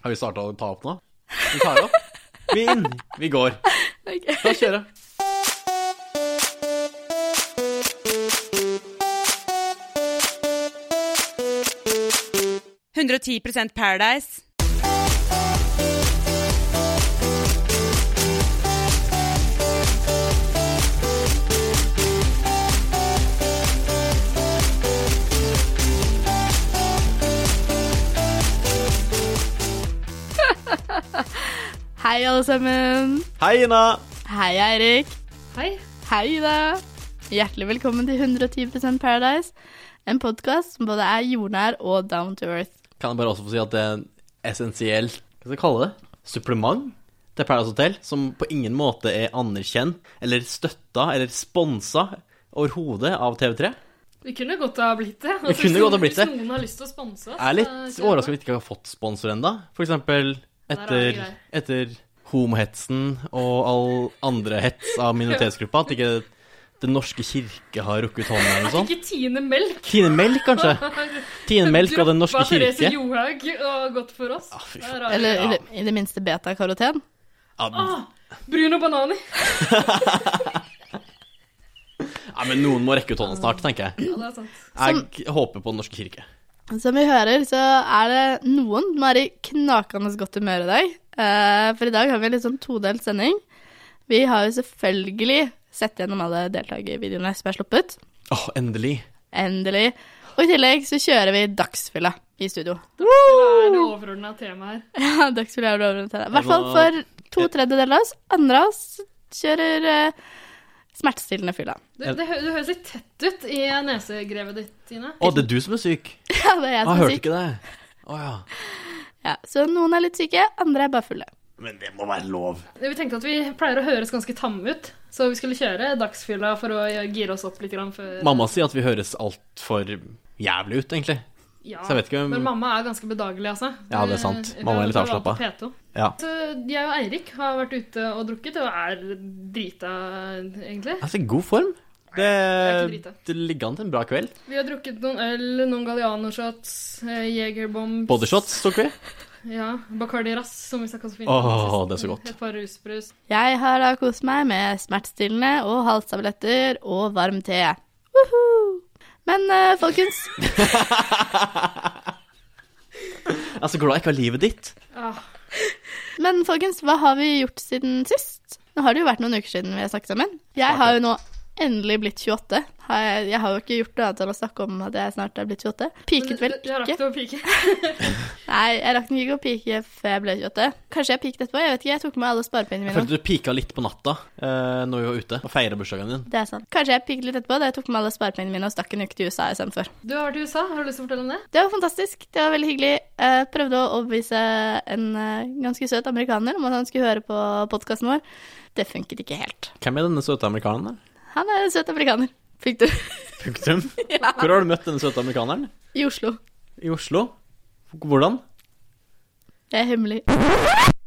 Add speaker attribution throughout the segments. Speaker 1: Har vi starta å ta opp nå? Vi tar opp. Vi er inn. Vi går. La
Speaker 2: Ok.
Speaker 1: oss kjøre.
Speaker 3: Paradise.
Speaker 2: Hei, alle sammen.
Speaker 1: Hei, Ina.
Speaker 2: Hei, Eirik.
Speaker 4: Hei.
Speaker 2: Hei, Ida. Hjertelig velkommen til 110 Paradise. En podkast som både er jordnær og down to earth.
Speaker 1: Kan jeg bare også få si at det er en essensiell Hva skal jeg kalle det? Supplement til Paradise Hotel, som på ingen måte er anerkjent eller støtta eller sponsa overhodet av TV3.
Speaker 4: Vi kunne godt ha blitt det.
Speaker 1: Vi kunne
Speaker 4: hvis
Speaker 1: godt ha blitt det.
Speaker 4: Hvis noen har lyst til å sponse oss.
Speaker 1: Jeg er
Speaker 4: så
Speaker 1: litt
Speaker 4: Ah,
Speaker 1: overraska
Speaker 4: kjør på.
Speaker 1: over at vi ikke har fått sponsor ennå. For eksempel
Speaker 4: Der er vi
Speaker 1: etter, etter homohetsen og all andre hets av minoritetsgruppa. At ikke Den norske kirke har rukket hånden eller noe sånt.
Speaker 4: Ikke Tine Melk.
Speaker 1: Tine Melk, kanskje? Tine Melk og Den norske
Speaker 4: Droppa Therese
Speaker 1: kirke.
Speaker 4: Johaug og Godt for oss.
Speaker 1: Ah, fy
Speaker 4: Der
Speaker 1: faen.
Speaker 4: har vi
Speaker 2: Eller
Speaker 4: det.
Speaker 2: i det- i det minste beta-karoten.
Speaker 1: Ja,
Speaker 4: ah, Bruno Banani.
Speaker 1: ja, men noen må rekke ut hånda snart, tenker jeg.
Speaker 4: Ja, det er sant.
Speaker 1: Jeg g- håper på Den norske kirke.
Speaker 2: Som vi hører, så er det noen som er i knakende godt humør i dag. Eh, For i dag har vi en litt sånn todelt sending. Vi har jo selvfølgelig sett gjennom alle deltakervideoene som er sluppet.
Speaker 1: Åh, endelig.
Speaker 2: Endelig. Og i tillegg så kjører vi Dagsfylla i studio.
Speaker 4: Det er det overordna temaet her.
Speaker 2: Ja, Dagsfylla er lovende til det. I hvert fall for to tredjedeler av oss. Andre av oss kjører eh, smertestillende fylla.
Speaker 4: Det, det, hø- det høres litt tett ut i nesegrevet ditt, Tine.
Speaker 1: Å, det er du som er syk?
Speaker 2: Ja, det er jeg
Speaker 1: Jeg
Speaker 2: som er
Speaker 1: Ah, hørte
Speaker 2: syk.
Speaker 1: ikke det. Å ja.
Speaker 2: Ja, så noen er litt syke, andre er bare fulle.
Speaker 1: Men det må være lov.
Speaker 4: Vi tenkte at vi pleier å høres ganske tamme ut, så vi skulle kjøre Dagsfylla for å gire oss opp litt grann før
Speaker 1: Mamma sier at vi høres altfor jævlig ut, egentlig.
Speaker 4: Ja,
Speaker 1: Så jeg vet ikke om-
Speaker 4: Men mamma er ganske bedagelig, altså.
Speaker 1: Ja, det er sant.
Speaker 4: Eh,
Speaker 1: Mamma er litt
Speaker 4: hun vært på
Speaker 1: avslappet.
Speaker 4: P2.
Speaker 1: Ja.
Speaker 4: Så eh, jeg og Eirik har vært ute og drukket, og er drita, egentlig.
Speaker 1: Altså, i god form. Det,
Speaker 4: er ikke drita.
Speaker 1: det ligger an til en bra kveld.
Speaker 4: Vi har drukket noen øl, noen Galliano-shots, eh, Jegerbombs
Speaker 1: Bodyshots tok vi.
Speaker 4: Ja, Bacardi Ras, som vi snakka så fint
Speaker 1: Åh,
Speaker 4: sist.
Speaker 1: det er så godt.
Speaker 4: Et par rusbrus.
Speaker 2: Jeg har da kost meg med smertestillende og halstabletter og varm te. Woohoo! Men eh, folkens,
Speaker 1: Jeg er så glad jeg ikke har livet ditt.
Speaker 4: Ah,
Speaker 2: men folkens, hva har vi gjort siden sist? Nå har det jo vært noen uker siden vi har snakket sammen. Jeg har jo nå endelig blitt 28. Har jeg, jeg har jo ikke gjort noe annet enn å snakke om at jeg snart er blitt 28. Piket vel
Speaker 4: Jeg rakk
Speaker 2: ikke.
Speaker 4: det å pike.
Speaker 2: Nei, jeg rakk nok ikke å pike før jeg ble 28. Kanskje jeg piket etterpå, jeg vet ikke. Jeg tok med alle sparepengene
Speaker 1: Jeg
Speaker 2: mine.
Speaker 1: følte du pika litt på natta eh, når vi var ute og feira bursdagen din.
Speaker 2: Det er sant. Kanskje jeg piket litt etterpå da jeg tok med alle sparepengene mine og stakk en uke til USA istedenfor.
Speaker 4: Du har vært i USA, har du lyst til å fortelle om det?
Speaker 2: Det var fantastisk. Det var veldig hyggelig. Jeg prøvde å overbevise en eh, ganske søt amerikaner om at han skulle høre på podkasten vår. Det funket ikke helt.
Speaker 1: Hvem er denne søte amerikaneren? der?
Speaker 2: Han er en søt amerikaner. Fikk du?
Speaker 1: Punktum. Hvor har du møtt denne søte amerikaneren?
Speaker 2: I Oslo.
Speaker 1: I Oslo. Hvordan?
Speaker 2: Det er hemmelig.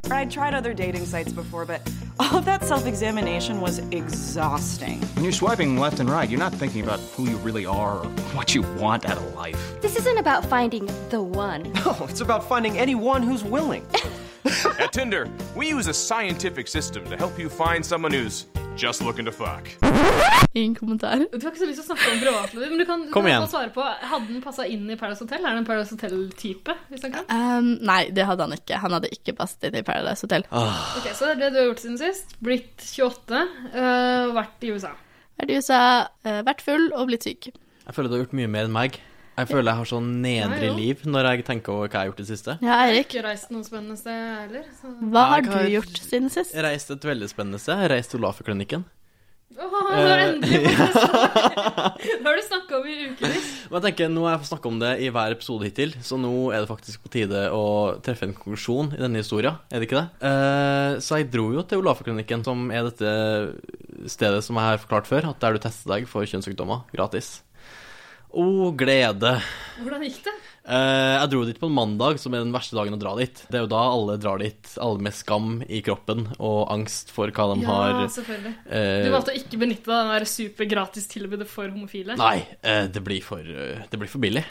Speaker 5: I'd tried other dating sites before, but all of that self examination was exhausting.
Speaker 6: When you're swiping left and right, you're not thinking about who you really are or what you want out of life.
Speaker 7: This isn't about finding the one.
Speaker 8: Oh, it's about finding anyone who's willing.
Speaker 9: At Tinder, we use a scientific system to help you find someone who's just looking to fuck.
Speaker 2: Ingen kommentar.
Speaker 4: Du har ikke så lyst til å snakke om privatlivet, men du kan, du
Speaker 1: Kom
Speaker 4: kan
Speaker 1: igjen.
Speaker 4: få svare på Hadde den passa inn i Paradise Hotel? Er det en Paradise Hotel-type? vi snakker om?
Speaker 2: Um, nei, det hadde han ikke. Han hadde ikke passet inn i Paradise Hotel.
Speaker 4: Ok, Så det er det du har gjort siden sist. Blitt 28, øh, vært i USA.
Speaker 2: Vært i USA, eh, vært full og blitt syk.
Speaker 1: Jeg føler du har gjort mye mer enn meg. Jeg føler jeg har sånn nedre
Speaker 4: Ja, jo.
Speaker 1: liv når jeg tenker over hva jeg har gjort i det siste.
Speaker 2: Ja, Eirik,
Speaker 4: Ikke reist noe spennende sted, jeg heller. Så.
Speaker 2: hva har
Speaker 1: Jeg
Speaker 2: du
Speaker 1: har-
Speaker 2: gjort siden sist?
Speaker 1: Jeg reiste et veldig spennende sted. Jeg reiste til Olaferklinikken.
Speaker 4: Åh, nå er det endelig
Speaker 1: Eh,
Speaker 4: faktisk Det har du snakka om i ukevis.
Speaker 1: Men jeg tenker, Nå har jeg fått snakke om det i hver episode hittil, så nå er det faktisk på tide å treffe en konklusjon i denne historia, er det ikke det? Eh, så jeg dro jo til Olaferklinikken, som er dette stedet som jeg har forklart før, at der du tester deg for kjønnssykdommer gratis. Å, glede.
Speaker 4: Hvordan gikk det?
Speaker 1: Eh, jeg dro dit på en mandag, som er den verste dagen å dra dit. Det er jo da alle drar dit, alle med skam i kroppen og angst for hva de
Speaker 4: Ja,
Speaker 1: har
Speaker 4: selvfølgelig.
Speaker 1: eh,
Speaker 4: Du valgte å ikke benytte deg av det der supergratis-tilbudet for homofile.
Speaker 1: Nei, eh, det blir for, eh, det blir for billig.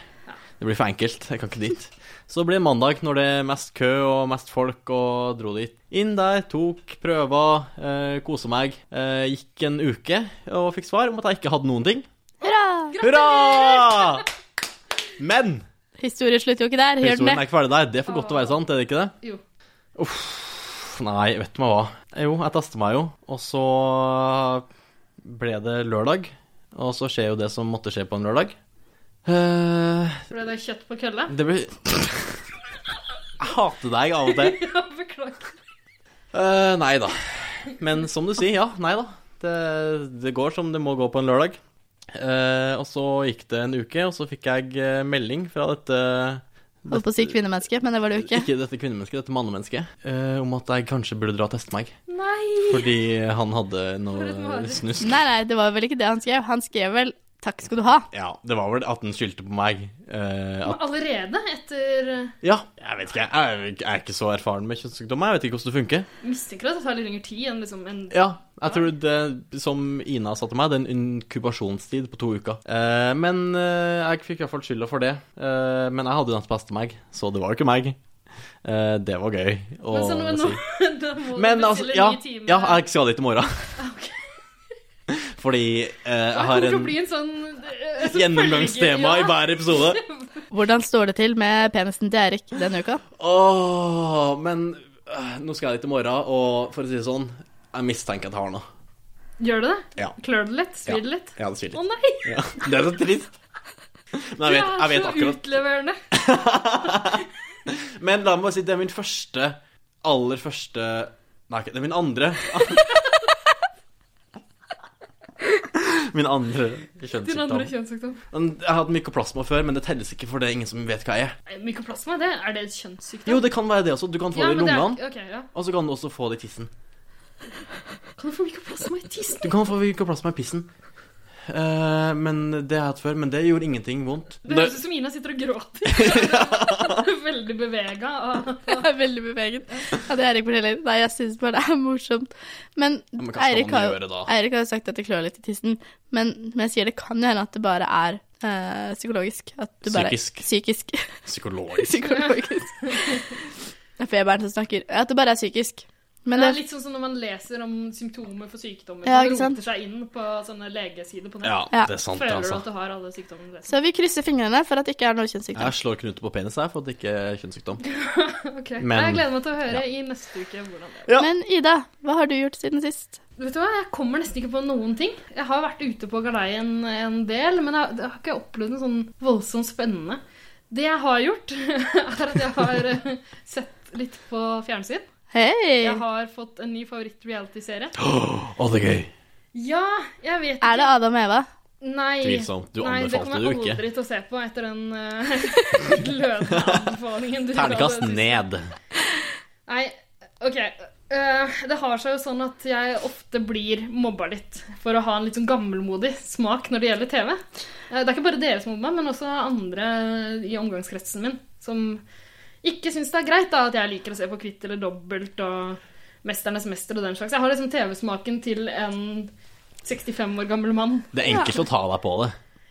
Speaker 1: Det blir for enkelt. Jeg kan ikke dit. Så det blir mandag, når det er mest kø og mest folk, og dro dit. Inn der, tok prøver, eh, kosa meg. Eh, gikk en uke og fikk svar om at jeg ikke hadde noen ting. Hurra! Men
Speaker 2: Historien slutter jo ikke der. Gjør den
Speaker 1: historien
Speaker 2: det?
Speaker 1: er ikke ferdig der. Det er for godt til å være sant, er det ikke det?
Speaker 4: Jo.
Speaker 1: Uff, nei, vet du meg hva. Jo, jeg testa meg jo, og så ble det lørdag. Og så skjer jo det som måtte skje på en lørdag. Eh,
Speaker 4: Ble det kjøtt på kølle?
Speaker 1: det blir Jeg hater deg av og til.
Speaker 4: Ja, beklager.
Speaker 1: Eh, nei da. Men som du sier, ja. Nei da. Det, det går som det må gå på en lørdag. Eh, og så gikk det en uke, og så fikk jeg eh, melding fra dette
Speaker 2: Holdt på å si kvinnemenneske, men det var det jo ikke.
Speaker 1: Ikke dette kvinnemennesket, dette mannemennesket. eh, om at jeg kanskje burde dra og teste meg.
Speaker 4: Nei!
Speaker 1: Fordi han hadde
Speaker 4: For et
Speaker 1: noe
Speaker 4: mareritt.
Speaker 1: snusk.
Speaker 2: Nei, nei, det var vel ikke det han skrev. Han skrev vel 'takk skal du ha'.
Speaker 1: Ja, det var vel at han skyldte på meg. eh, at,
Speaker 4: Men allerede etter eh,
Speaker 1: ja, jeg vet ikke. Jeg er, jeg er ikke så erfaren med kjønnssykdommer. Jeg vet ikke hvordan det funker.
Speaker 4: Mistenker at det tar litt lengre tid enn liksom en
Speaker 1: Ja, jeg tror det som Ina sa til meg, det er en inkubasjonstid på to uker. Eh, men eh, jeg fikk i hvert fall skylda for det. Eh, men jeg hadde jo nettopp beste meg, så det var jo ikke meg. Eh, det var gøy å
Speaker 4: Men så nå, nå,
Speaker 1: si.
Speaker 4: da må
Speaker 1: Men
Speaker 4: du
Speaker 1: altså,
Speaker 4: bestille
Speaker 1: ja,
Speaker 4: nye timer.
Speaker 1: ja, jeg skal dit i morgen. Fordi eh,
Speaker 4: det
Speaker 1: jeg
Speaker 4: kommer
Speaker 1: har
Speaker 4: til å
Speaker 1: en
Speaker 4: bli en sånn eh, sånn
Speaker 1: gjennomgangstema i
Speaker 4: følge-
Speaker 1: hver episode.
Speaker 2: Hvordan står det til med penisen til Erik denne uka?
Speaker 1: Åh, men eh, nå skal jeg dit i morgen, og for å si det sånn, jeg mistenker at jeg har noe.
Speaker 4: Ja. Gjør du det?
Speaker 1: Ja.
Speaker 4: Klør det litt? Svir det
Speaker 1: Ja.
Speaker 4: litt?
Speaker 1: Ja, det sier
Speaker 4: Å
Speaker 1: litt.
Speaker 4: nei!
Speaker 1: Ja, det er så trist. Men jeg vet, jeg
Speaker 4: det
Speaker 1: vet
Speaker 4: er så
Speaker 1: akkurat
Speaker 4: utleverende.
Speaker 1: Men la meg bare si, det er min første Aller første Nei, ikke- det er min andre Min andre
Speaker 4: Din andre
Speaker 1: kjønnssykdom
Speaker 4: kjønnssykdom.
Speaker 1: Men Jeg har hatt mykoplasma før, men det telles ikke For det er ingen som vet hva jeg er
Speaker 4: Nei, Mykoplasma, det, er det et kjønnssykdom?
Speaker 1: Jo, det kan være det også, du kan få det i
Speaker 4: men det er-
Speaker 1: lungene
Speaker 4: ok, ja.
Speaker 1: Og så kan du også få det i tissen
Speaker 4: Kan du få mykoplasma i tissen?
Speaker 1: Du kan få mykoplasma i pissen Eh, Men det har jeg hatt før, men det gjorde ingenting vondt
Speaker 4: Det høres ut som Ina sitter og gråter. Veldig bevega. av-
Speaker 2: Jeg er veldig beveget. Ja, det Eirik forteller. Nei, jeg syns bare det er morsomt. Men,
Speaker 1: men hva skal
Speaker 2: Eirik
Speaker 1: man
Speaker 2: har, jo-
Speaker 1: gjøre da?
Speaker 2: Eirik har jo sagt at det klør litt i tissen, men, men jeg sier det kan jo hende at det bare er eh, psykologisk. At du bare,
Speaker 1: Psykisk.
Speaker 2: Psykisk.
Speaker 1: Psykologisk
Speaker 2: psykologisk. Det er feberen som snakker. At det bare er psykisk. Men
Speaker 4: Det er
Speaker 2: det,
Speaker 4: litt sånn som når man leser om symptomer for sykdommer.
Speaker 2: Ja,
Speaker 4: man
Speaker 2: ikke sant?
Speaker 4: roter seg inn på sånne legesider på nett.
Speaker 1: Ja,
Speaker 2: Ja.
Speaker 1: det er sant
Speaker 4: Føler du at
Speaker 1: altså
Speaker 4: du har alle sykdommene?
Speaker 2: så vi krysser fingrene for at det ikke er noe kjønnssykdom.
Speaker 1: Jeg slår knute på penis her for at det ikke er kjønnssykdom
Speaker 4: Ok.
Speaker 1: Men-
Speaker 4: Jeg gleder meg til å høre i neste uke hvordan det er.
Speaker 1: Ja.
Speaker 2: Men Ida, hva har du gjort siden sist?
Speaker 4: Vet du hva, Jeg kommer nesten ikke på noen ting. Jeg har vært ute på galeien en del, men jeg, jeg har ikke opplevd noe sånn voldsomt spennende. Det jeg har gjort, er at jeg har eh, sett litt på fjernsyn.
Speaker 2: Hei!
Speaker 4: Jeg har fått en ny favoritt-reality-serie.
Speaker 1: Å, det er gøy
Speaker 4: Ja, jeg vet ikke
Speaker 2: Er det Adam og Eva?
Speaker 4: Nei,
Speaker 1: Tvilsomt. Du
Speaker 4: Nei, det
Speaker 1: anbefalte det
Speaker 4: kommer jeg
Speaker 1: jo ikke.
Speaker 4: aldri til å se på etter den eh, glødende anbefalingen du ga det
Speaker 1: Ternekast
Speaker 4: siste.
Speaker 1: ned.
Speaker 4: Nei, ok. Eh, det har seg jo sånn at jeg ofte blir mobba litt for å ha en litt sånn gammelmodig smak når det gjelder TV. Eh, det er ikke bare dere som mobber meg, men også andre i omgangskretsen min som ikke syns det er greit da, at jeg liker å se på Kvitt eller dobbelt og Mesternes mester og den slags. Jeg har liksom TV-smaken til en 65 år gammel mann.
Speaker 1: Det er enkelt å ta deg på det.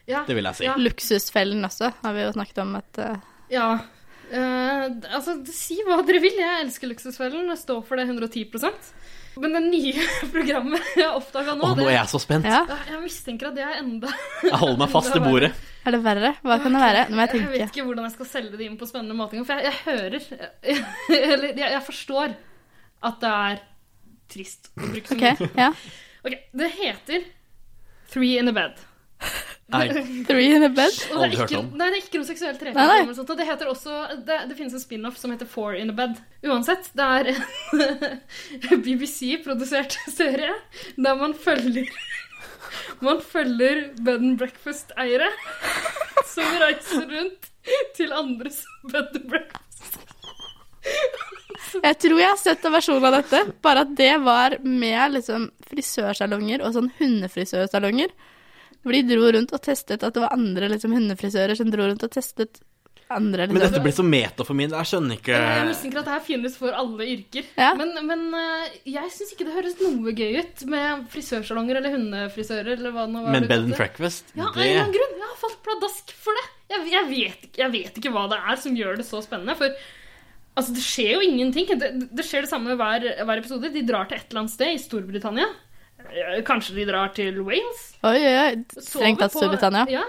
Speaker 4: Ja,
Speaker 1: Det vil jeg si.
Speaker 4: Ja,
Speaker 2: Luksusfellen også, har vi jo snakket om at eh,
Speaker 4: ja. Eh, altså, si hva dere vil. Jeg elsker Luksusfellen og står for det 110 Men det nye programmet jeg har oppdaga
Speaker 1: Å,
Speaker 4: nå
Speaker 1: nå
Speaker 4: det,
Speaker 1: er jeg så spent.
Speaker 2: Ja,
Speaker 4: Ja, Jeg mistenker at det er enda
Speaker 1: Jeg holder meg fast i
Speaker 4: enda
Speaker 1: bordet.
Speaker 2: er det verre? Hva kan det være? Nå må jeg
Speaker 4: Jeg vet
Speaker 2: tenke.
Speaker 4: ikke hvordan jeg skal selge det inn på spennende måter. For jeg, jeg hører Eller jeg, jeg forstår at det er trist å bruke så
Speaker 2: Ok,
Speaker 4: mye.
Speaker 2: ja.
Speaker 4: Ok, Det heter Three in a bed.
Speaker 1: Nei,
Speaker 2: Three in a bed.
Speaker 4: Og det
Speaker 1: Aldri
Speaker 4: er
Speaker 1: hørt
Speaker 4: ikke,
Speaker 1: om.
Speaker 4: nei, det er ikke noe seksuell trening.
Speaker 2: Nei, nei.
Speaker 4: eller noe sånt, og Det heter også, det, det finnes en spin-off som heter Four in a Bed. Uansett, det er en BBC-produsert serie der man følger Man følger bed and breakfast-eiere som reiser rundt til andres bed and breakfast.
Speaker 2: Jeg tror jeg har sett en versjon av dette, bare at det var med liksom frisørsalonger og sånn hundefrisørsalonger. Hvor de dro rundt og testet at det var andre liksom hundefrisører som dro rundt og testet andre.
Speaker 1: men
Speaker 2: Liksom.
Speaker 1: dette blir så meta for min Jeg skjønner ikke
Speaker 4: Jeg mistenker at det her finnes for alle yrker.
Speaker 2: Ja.
Speaker 4: Men, men eh, jeg syns ikke det høres noe gøy ut med frisørsalonger eller hundefrisører. eller hva det nå var
Speaker 1: Men
Speaker 4: du
Speaker 1: bed and
Speaker 4: kalte det.
Speaker 1: breakfast,
Speaker 4: Ja, av en
Speaker 1: det
Speaker 4: eller annen grunn. Jeg har falt pladask for det. jeg, jeg, vet, ikke- jeg vet ikke hva det er som gjør det så spennende. For altså, det skjer jo ingenting. Det, det skjer det samme hver, hver episode. De drar til et eller annet sted i Storbritannia. Eh, Kanskje de drar til Wales.
Speaker 2: Oi, oi, oi.
Speaker 4: Sover
Speaker 2: Strengt tatt
Speaker 4: på-
Speaker 2: Storbritannia.
Speaker 4: Ja,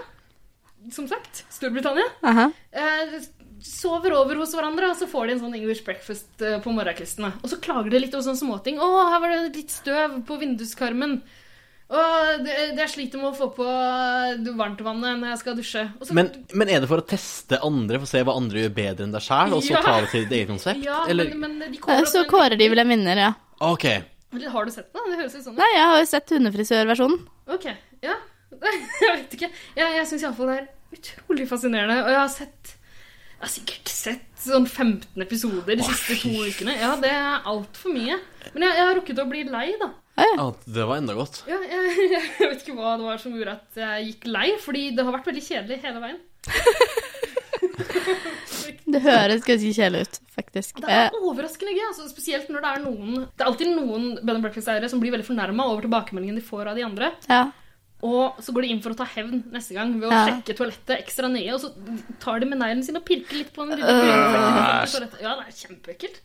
Speaker 4: som sagt. Storbritannia.
Speaker 2: Aha.
Speaker 4: Eh, sover over hos hverandre, og så får de en sånn English breakfast eh, på morgenkvisten. da. Og så klager de litt over sånne småting. 'Å, her var det litt støv på vinduskarmen.' 'Å, det, det jeg sliter med å få på eh, varmtvannet når jeg skal dusje.' Og så,
Speaker 1: Men, men er det for å teste andre, for å se hva andre gjør bedre enn deg sjæl, og så
Speaker 4: Ja.
Speaker 1: ta det til ditt eget konsept?
Speaker 4: ja,
Speaker 1: Eller
Speaker 4: men, men de
Speaker 2: Eh,
Speaker 4: kårer
Speaker 2: Så
Speaker 4: opp en,
Speaker 2: kårer de vel en vinner, ja.
Speaker 1: OK.
Speaker 4: Eller Har du sett det? Det høres ut sånn ut.
Speaker 2: Nei, jeg har jo sett hundefrisørversjonen.
Speaker 4: Ok, ja. jeg vet ikke. Jeg, jeg syns iallfall det er utrolig fascinerende. Og jeg har sett jeg har sikkert sett sånn 15 episoder de siste to ukene. Ja, Det er altfor mye. Men jeg, jeg har rukket å bli lei, da.
Speaker 1: At det var enda godt.
Speaker 4: Ja, jeg, jeg vet ikke hva det var som gjorde at jeg gikk lei, fordi det har vært veldig kjedelig hele veien.
Speaker 2: Det høres ganske kjedelig ut, faktisk.
Speaker 4: Det
Speaker 2: Eh,
Speaker 4: er overraskende gøy, altså, spesielt når det er noen Det er alltid noen Ben Breakfast-eiere som blir veldig fornærma over tilbakemeldingen de får av de andre.
Speaker 2: ja.
Speaker 4: Og så går de inn for å ta hevn neste gang ved å
Speaker 2: Ja.
Speaker 4: sjekke toalettet ekstra nøye. Og så tar de med neglen sin og pirker litt på den lille gulrota på toalettet. Ja, det er kjempeekkelt.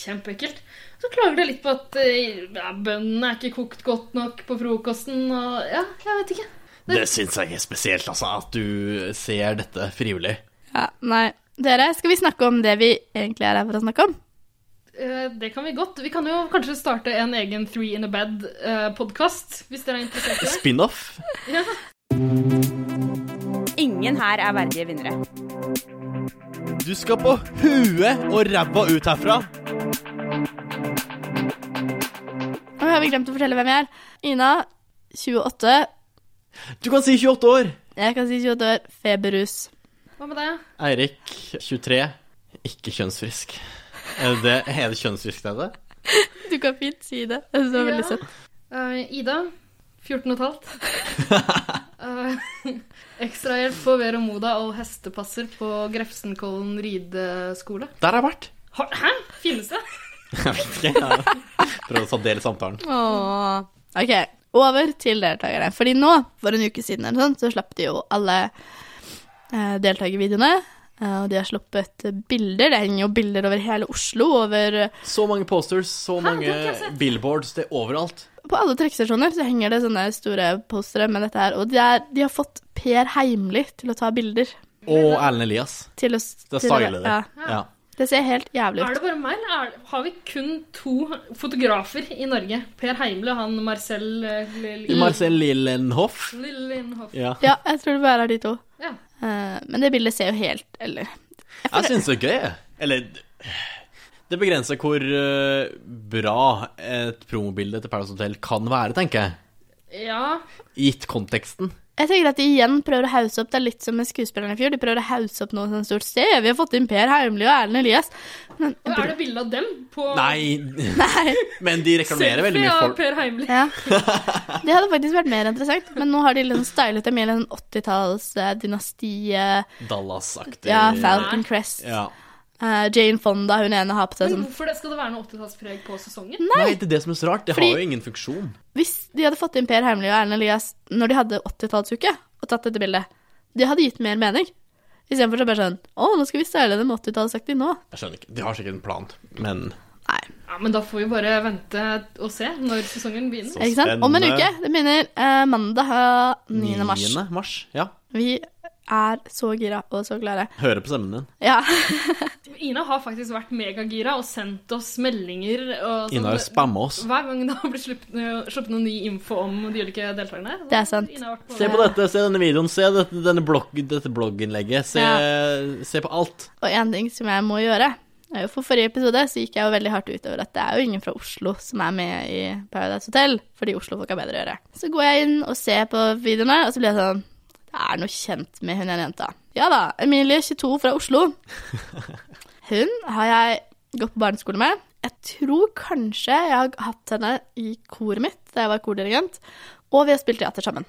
Speaker 4: Kjempeekkelt. Så klager de litt på at eh, ja, bønnene er ikke kokt godt nok på frokosten, og ja, jeg vet ikke.
Speaker 1: Det syns jeg er spesielt, altså, at du ser dette frivillig.
Speaker 2: ja. Nei. Dere, skal vi snakke om det vi egentlig er her for å snakke om?
Speaker 4: Eh, Det kan vi godt. Vi kan jo kanskje starte en egen Three in a bed-podkast, hvis dere er interessert i det.
Speaker 1: Spin-off?
Speaker 3: Ingen her er verdige vinnere.
Speaker 1: Du skal på huet og ræva ut herfra.
Speaker 2: Nå har vi glemt å fortelle hvem jeg er. Ina, 28.
Speaker 1: Du kan si 28 år.
Speaker 2: Jeg kan si 28 år. Feberrus.
Speaker 4: Hva med deg?
Speaker 1: Eirik, 23. Ikke kjønnsfrisk. Er det, er det kjønnsfrisk det er det?
Speaker 2: Du kan fint si det. Jeg synes det var veldig
Speaker 4: Ja.
Speaker 2: søtt.
Speaker 4: Eh, Ida, 14 og et halvt. Eh, Ekstrahjelp på Vero Moda og hestepasser på Grefsenkollen rideskole.
Speaker 1: Der har jeg vært.
Speaker 4: Har- Hæ? Finnes det?
Speaker 1: Jeg vet ikke. Jeg prøver å ta del i samtalen.
Speaker 2: Åh. Ok, over til deltakerne. Fordi nå, for en uke siden, eller sånn, så slapp de jo alle eh, deltakervideoene. Eh, og de har sluppet bilder. Det henger jo bilder over hele Oslo. Over,
Speaker 1: Så mange posters, så
Speaker 4: det
Speaker 1: mange
Speaker 4: har ikke jeg sett.
Speaker 1: billboards. Det er overalt.
Speaker 2: på alle trekkestasjoner så henger det sånne store postere med dette her. Og de, er, de har fått Per Heimli til å ta bilder.
Speaker 1: Og Erlend Elias.
Speaker 2: Til å, s-
Speaker 1: Det er
Speaker 2: til å-
Speaker 1: styler det.
Speaker 2: Ja,
Speaker 1: Ja.
Speaker 2: det ser helt jævlig
Speaker 4: Er
Speaker 2: ut.
Speaker 4: det bare meg, eller er, har vi kun to fotografer i Norge? Per Heimle og han Marcel eh, Lill-
Speaker 1: Marcel altså Lillenhoff.
Speaker 4: Lillenhoff.
Speaker 1: Ja.
Speaker 2: Ja, jeg tror det bare er de to.
Speaker 4: Ja.
Speaker 2: Eh, men det bildet ser jo helt Eller
Speaker 1: Jeg syns det er gøy, jeg. Eller Det begrenser hvor eh, bra et promobilde til Paradise Hotel kan være, tenker jeg.
Speaker 4: ja.
Speaker 1: Gitt konteksten.
Speaker 2: Jeg tenker at de igjen prøver å hause opp. Det er litt som med skuespillerne i fjor. De prøver å hause opp noe sånt stort sted. Vi har fått inn Per Heimly og Erlend Elias. Men
Speaker 4: Og er det bilde av dem på
Speaker 1: Nei,
Speaker 2: Nei.
Speaker 1: men de reklamerer veldig mye
Speaker 4: av
Speaker 1: for
Speaker 4: Per Heimle?
Speaker 2: Ja. Det hadde faktisk vært mer interessant, men nå har de liksom stylet dem i en 80-talls-dynastiet.
Speaker 1: Dallas-aktig.
Speaker 2: Ja, Falcon Crest.
Speaker 1: Ja.
Speaker 2: Eh, Jane Fonda, hun ene har på seg
Speaker 4: Men
Speaker 2: sånn
Speaker 4: hvorfor det? skal det være noe 80-tallspreg på sesongen?
Speaker 1: Nei, det er det som er så rart. Det
Speaker 2: Fordi-
Speaker 1: har jo ingen funksjon.
Speaker 2: Hvis de hadde fått inn Per Heimly og Erlend Elias når de hadde 80-tallsuke, og tatt dette bildet, det hadde gitt mer mening. Istedenfor så bare sånn Å, nå skal vi style dem 80-tallsaktig nå.
Speaker 1: Jeg skjønner ikke. De har sikkert en plan, men
Speaker 2: Nei.
Speaker 4: Ja, Men da får vi bare vente og se når sesongen begynner.
Speaker 1: Så
Speaker 2: Ikke sant? Om en
Speaker 1: spennende.
Speaker 2: uke. Det begynner eh, mandag eh, 9. mars.
Speaker 1: 9. mars. Ja.
Speaker 2: Vi er så gira og så klare.
Speaker 1: Hører på stemmen din.
Speaker 2: Ja.
Speaker 4: Ina har faktisk vært megagira og sendt oss meldinger. Og sånn.
Speaker 1: Ina
Speaker 2: Altså,
Speaker 1: har spamma oss.
Speaker 4: Hver gang det har blitt sluppet, sluppet noe ny info om de ulike deltakerne.
Speaker 2: Det er sant.
Speaker 4: Ina har vært på-
Speaker 1: Se på dette, se denne videoen, se dette, denne blogg, dette blogginnlegget. Se, se på alt.
Speaker 2: Og en ting som jeg må gjøre er jo For forrige episode så gikk jeg jo veldig hardt utover at det er jo ingen fra Oslo som er med i Paradise Hotel, fordi Oslo-folk har bedre å gjøre. Så går jeg inn og ser på videoene, og så blir jeg sånn Det er noe kjent med hun ene jenta. Ja da, Emilie, 22, fra Oslo. Hun har jeg gått på barneskole med. Jeg tror kanskje jeg har hatt henne i koret mitt da jeg var kordirigent, og vi har spilt teater sammen.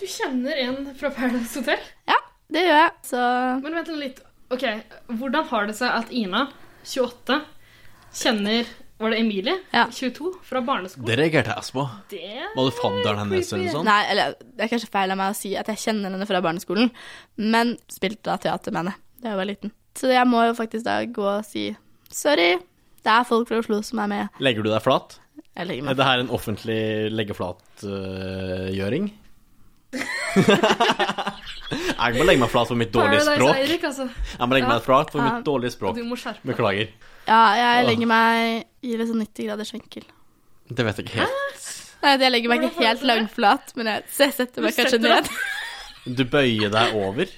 Speaker 4: Du kjenner en fra Paradise Hotel?
Speaker 2: Ja, det gjør jeg. Så
Speaker 4: Men vent litt. Ok, Hvordan har det seg at Ina, 28, kjenner Var det Emilie?
Speaker 2: Ja.
Speaker 4: 22, fra barneskolen.
Speaker 1: Det reagerte jeg også på.
Speaker 4: Det
Speaker 1: Var det fadderen hennes eller sånn? noe
Speaker 4: Sånn.
Speaker 1: sånt?
Speaker 2: Nei, eller det er kanskje feil av meg å si at jeg kjenner henne fra barneskolen, men spilte da teater med henne da jeg var liten. Så jeg må jo faktisk da gå og si sorry, det er folk fra Oslo som er med.
Speaker 1: Legger du deg flat?
Speaker 2: Jeg legger
Speaker 1: Er
Speaker 2: meg.
Speaker 1: det her en offentlig leggeflatgjøring? jeg må legge meg flat for mitt dårlige
Speaker 4: Paradise
Speaker 1: språk.
Speaker 4: Eirik, altså.
Speaker 1: Jeg må legge meg flat for mitt dårlige språk.
Speaker 4: Du må skjerpe deg.
Speaker 1: Beklager.
Speaker 2: Ja, jeg legger meg i litt sånn 90 graders vinkel.
Speaker 1: Det vet jeg ikke helt.
Speaker 2: Nei, jeg legger meg
Speaker 4: Hvordan
Speaker 2: ikke
Speaker 4: føles
Speaker 2: helt
Speaker 4: det?
Speaker 2: langflat, men jeg, så jeg setter meg
Speaker 4: Du
Speaker 2: kanskje
Speaker 4: setter deg-
Speaker 2: ned.
Speaker 1: Du bøyer deg over.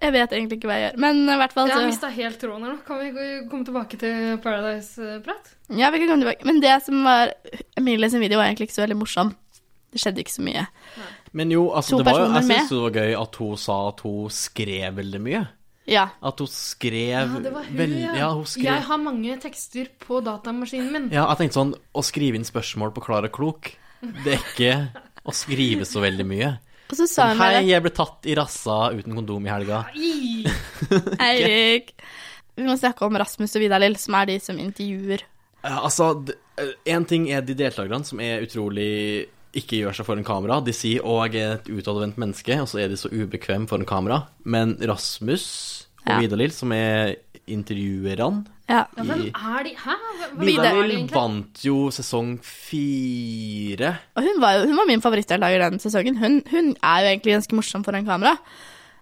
Speaker 2: Jeg vet egentlig ikke hva jeg gjør, men i hvert fall
Speaker 1: Altså-
Speaker 4: Jeg har
Speaker 2: så
Speaker 4: mista helt tråden her nå. Kan vi gå- komme tilbake til Paradise-prat?
Speaker 2: Ja, vi kan komme tilbake. Men det som var Emilie sin video, var egentlig ikke så veldig morsom. Det skjedde ikke så mye.
Speaker 1: Men jo, altså,
Speaker 2: To
Speaker 1: det var jo, jeg
Speaker 2: personer med.
Speaker 1: syns det var gøy at hun sa at hun skrev veldig mye.
Speaker 2: Ja.
Speaker 1: At hun skrev
Speaker 4: Ja, det var hun,
Speaker 1: vel-
Speaker 4: ja.
Speaker 1: ja. Hun skrev
Speaker 4: Jeg har mange tekster på datamaskinen min.
Speaker 1: Ja, jeg tenkte sånn Å skrive inn spørsmål på Klara Klok, det er ikke å skrive så veldig mye.
Speaker 2: Og så sa
Speaker 1: Sånn,
Speaker 2: hun bare
Speaker 1: Hei, jeg ble tatt i rassa uten kondom i helga.
Speaker 4: I,
Speaker 2: Eirik. Vi må snakke om Rasmus og Vidar Lill, som er de som intervjuer.
Speaker 1: Ja, altså, d- eh, en ting er de deltakerne som er utrolig ikke gjør seg foran kamera. De sier 'Å, jeg er et utadvendt menneske', og så er de så ubekvem foran kamera. Men Rasmus og
Speaker 2: Ja.
Speaker 1: Vidar-Lill, som er intervjuerne
Speaker 2: Ja.
Speaker 4: ja, hvem er de? Hæ? Hvem- hvem er de
Speaker 1: Vidar-Lill
Speaker 4: egentlig?
Speaker 1: vant jo sesong fire.
Speaker 2: Og hun var, jo, hun var min favorittdeltaker den sesongen. Hun, hun er jo egentlig ganske morsom foran kamera.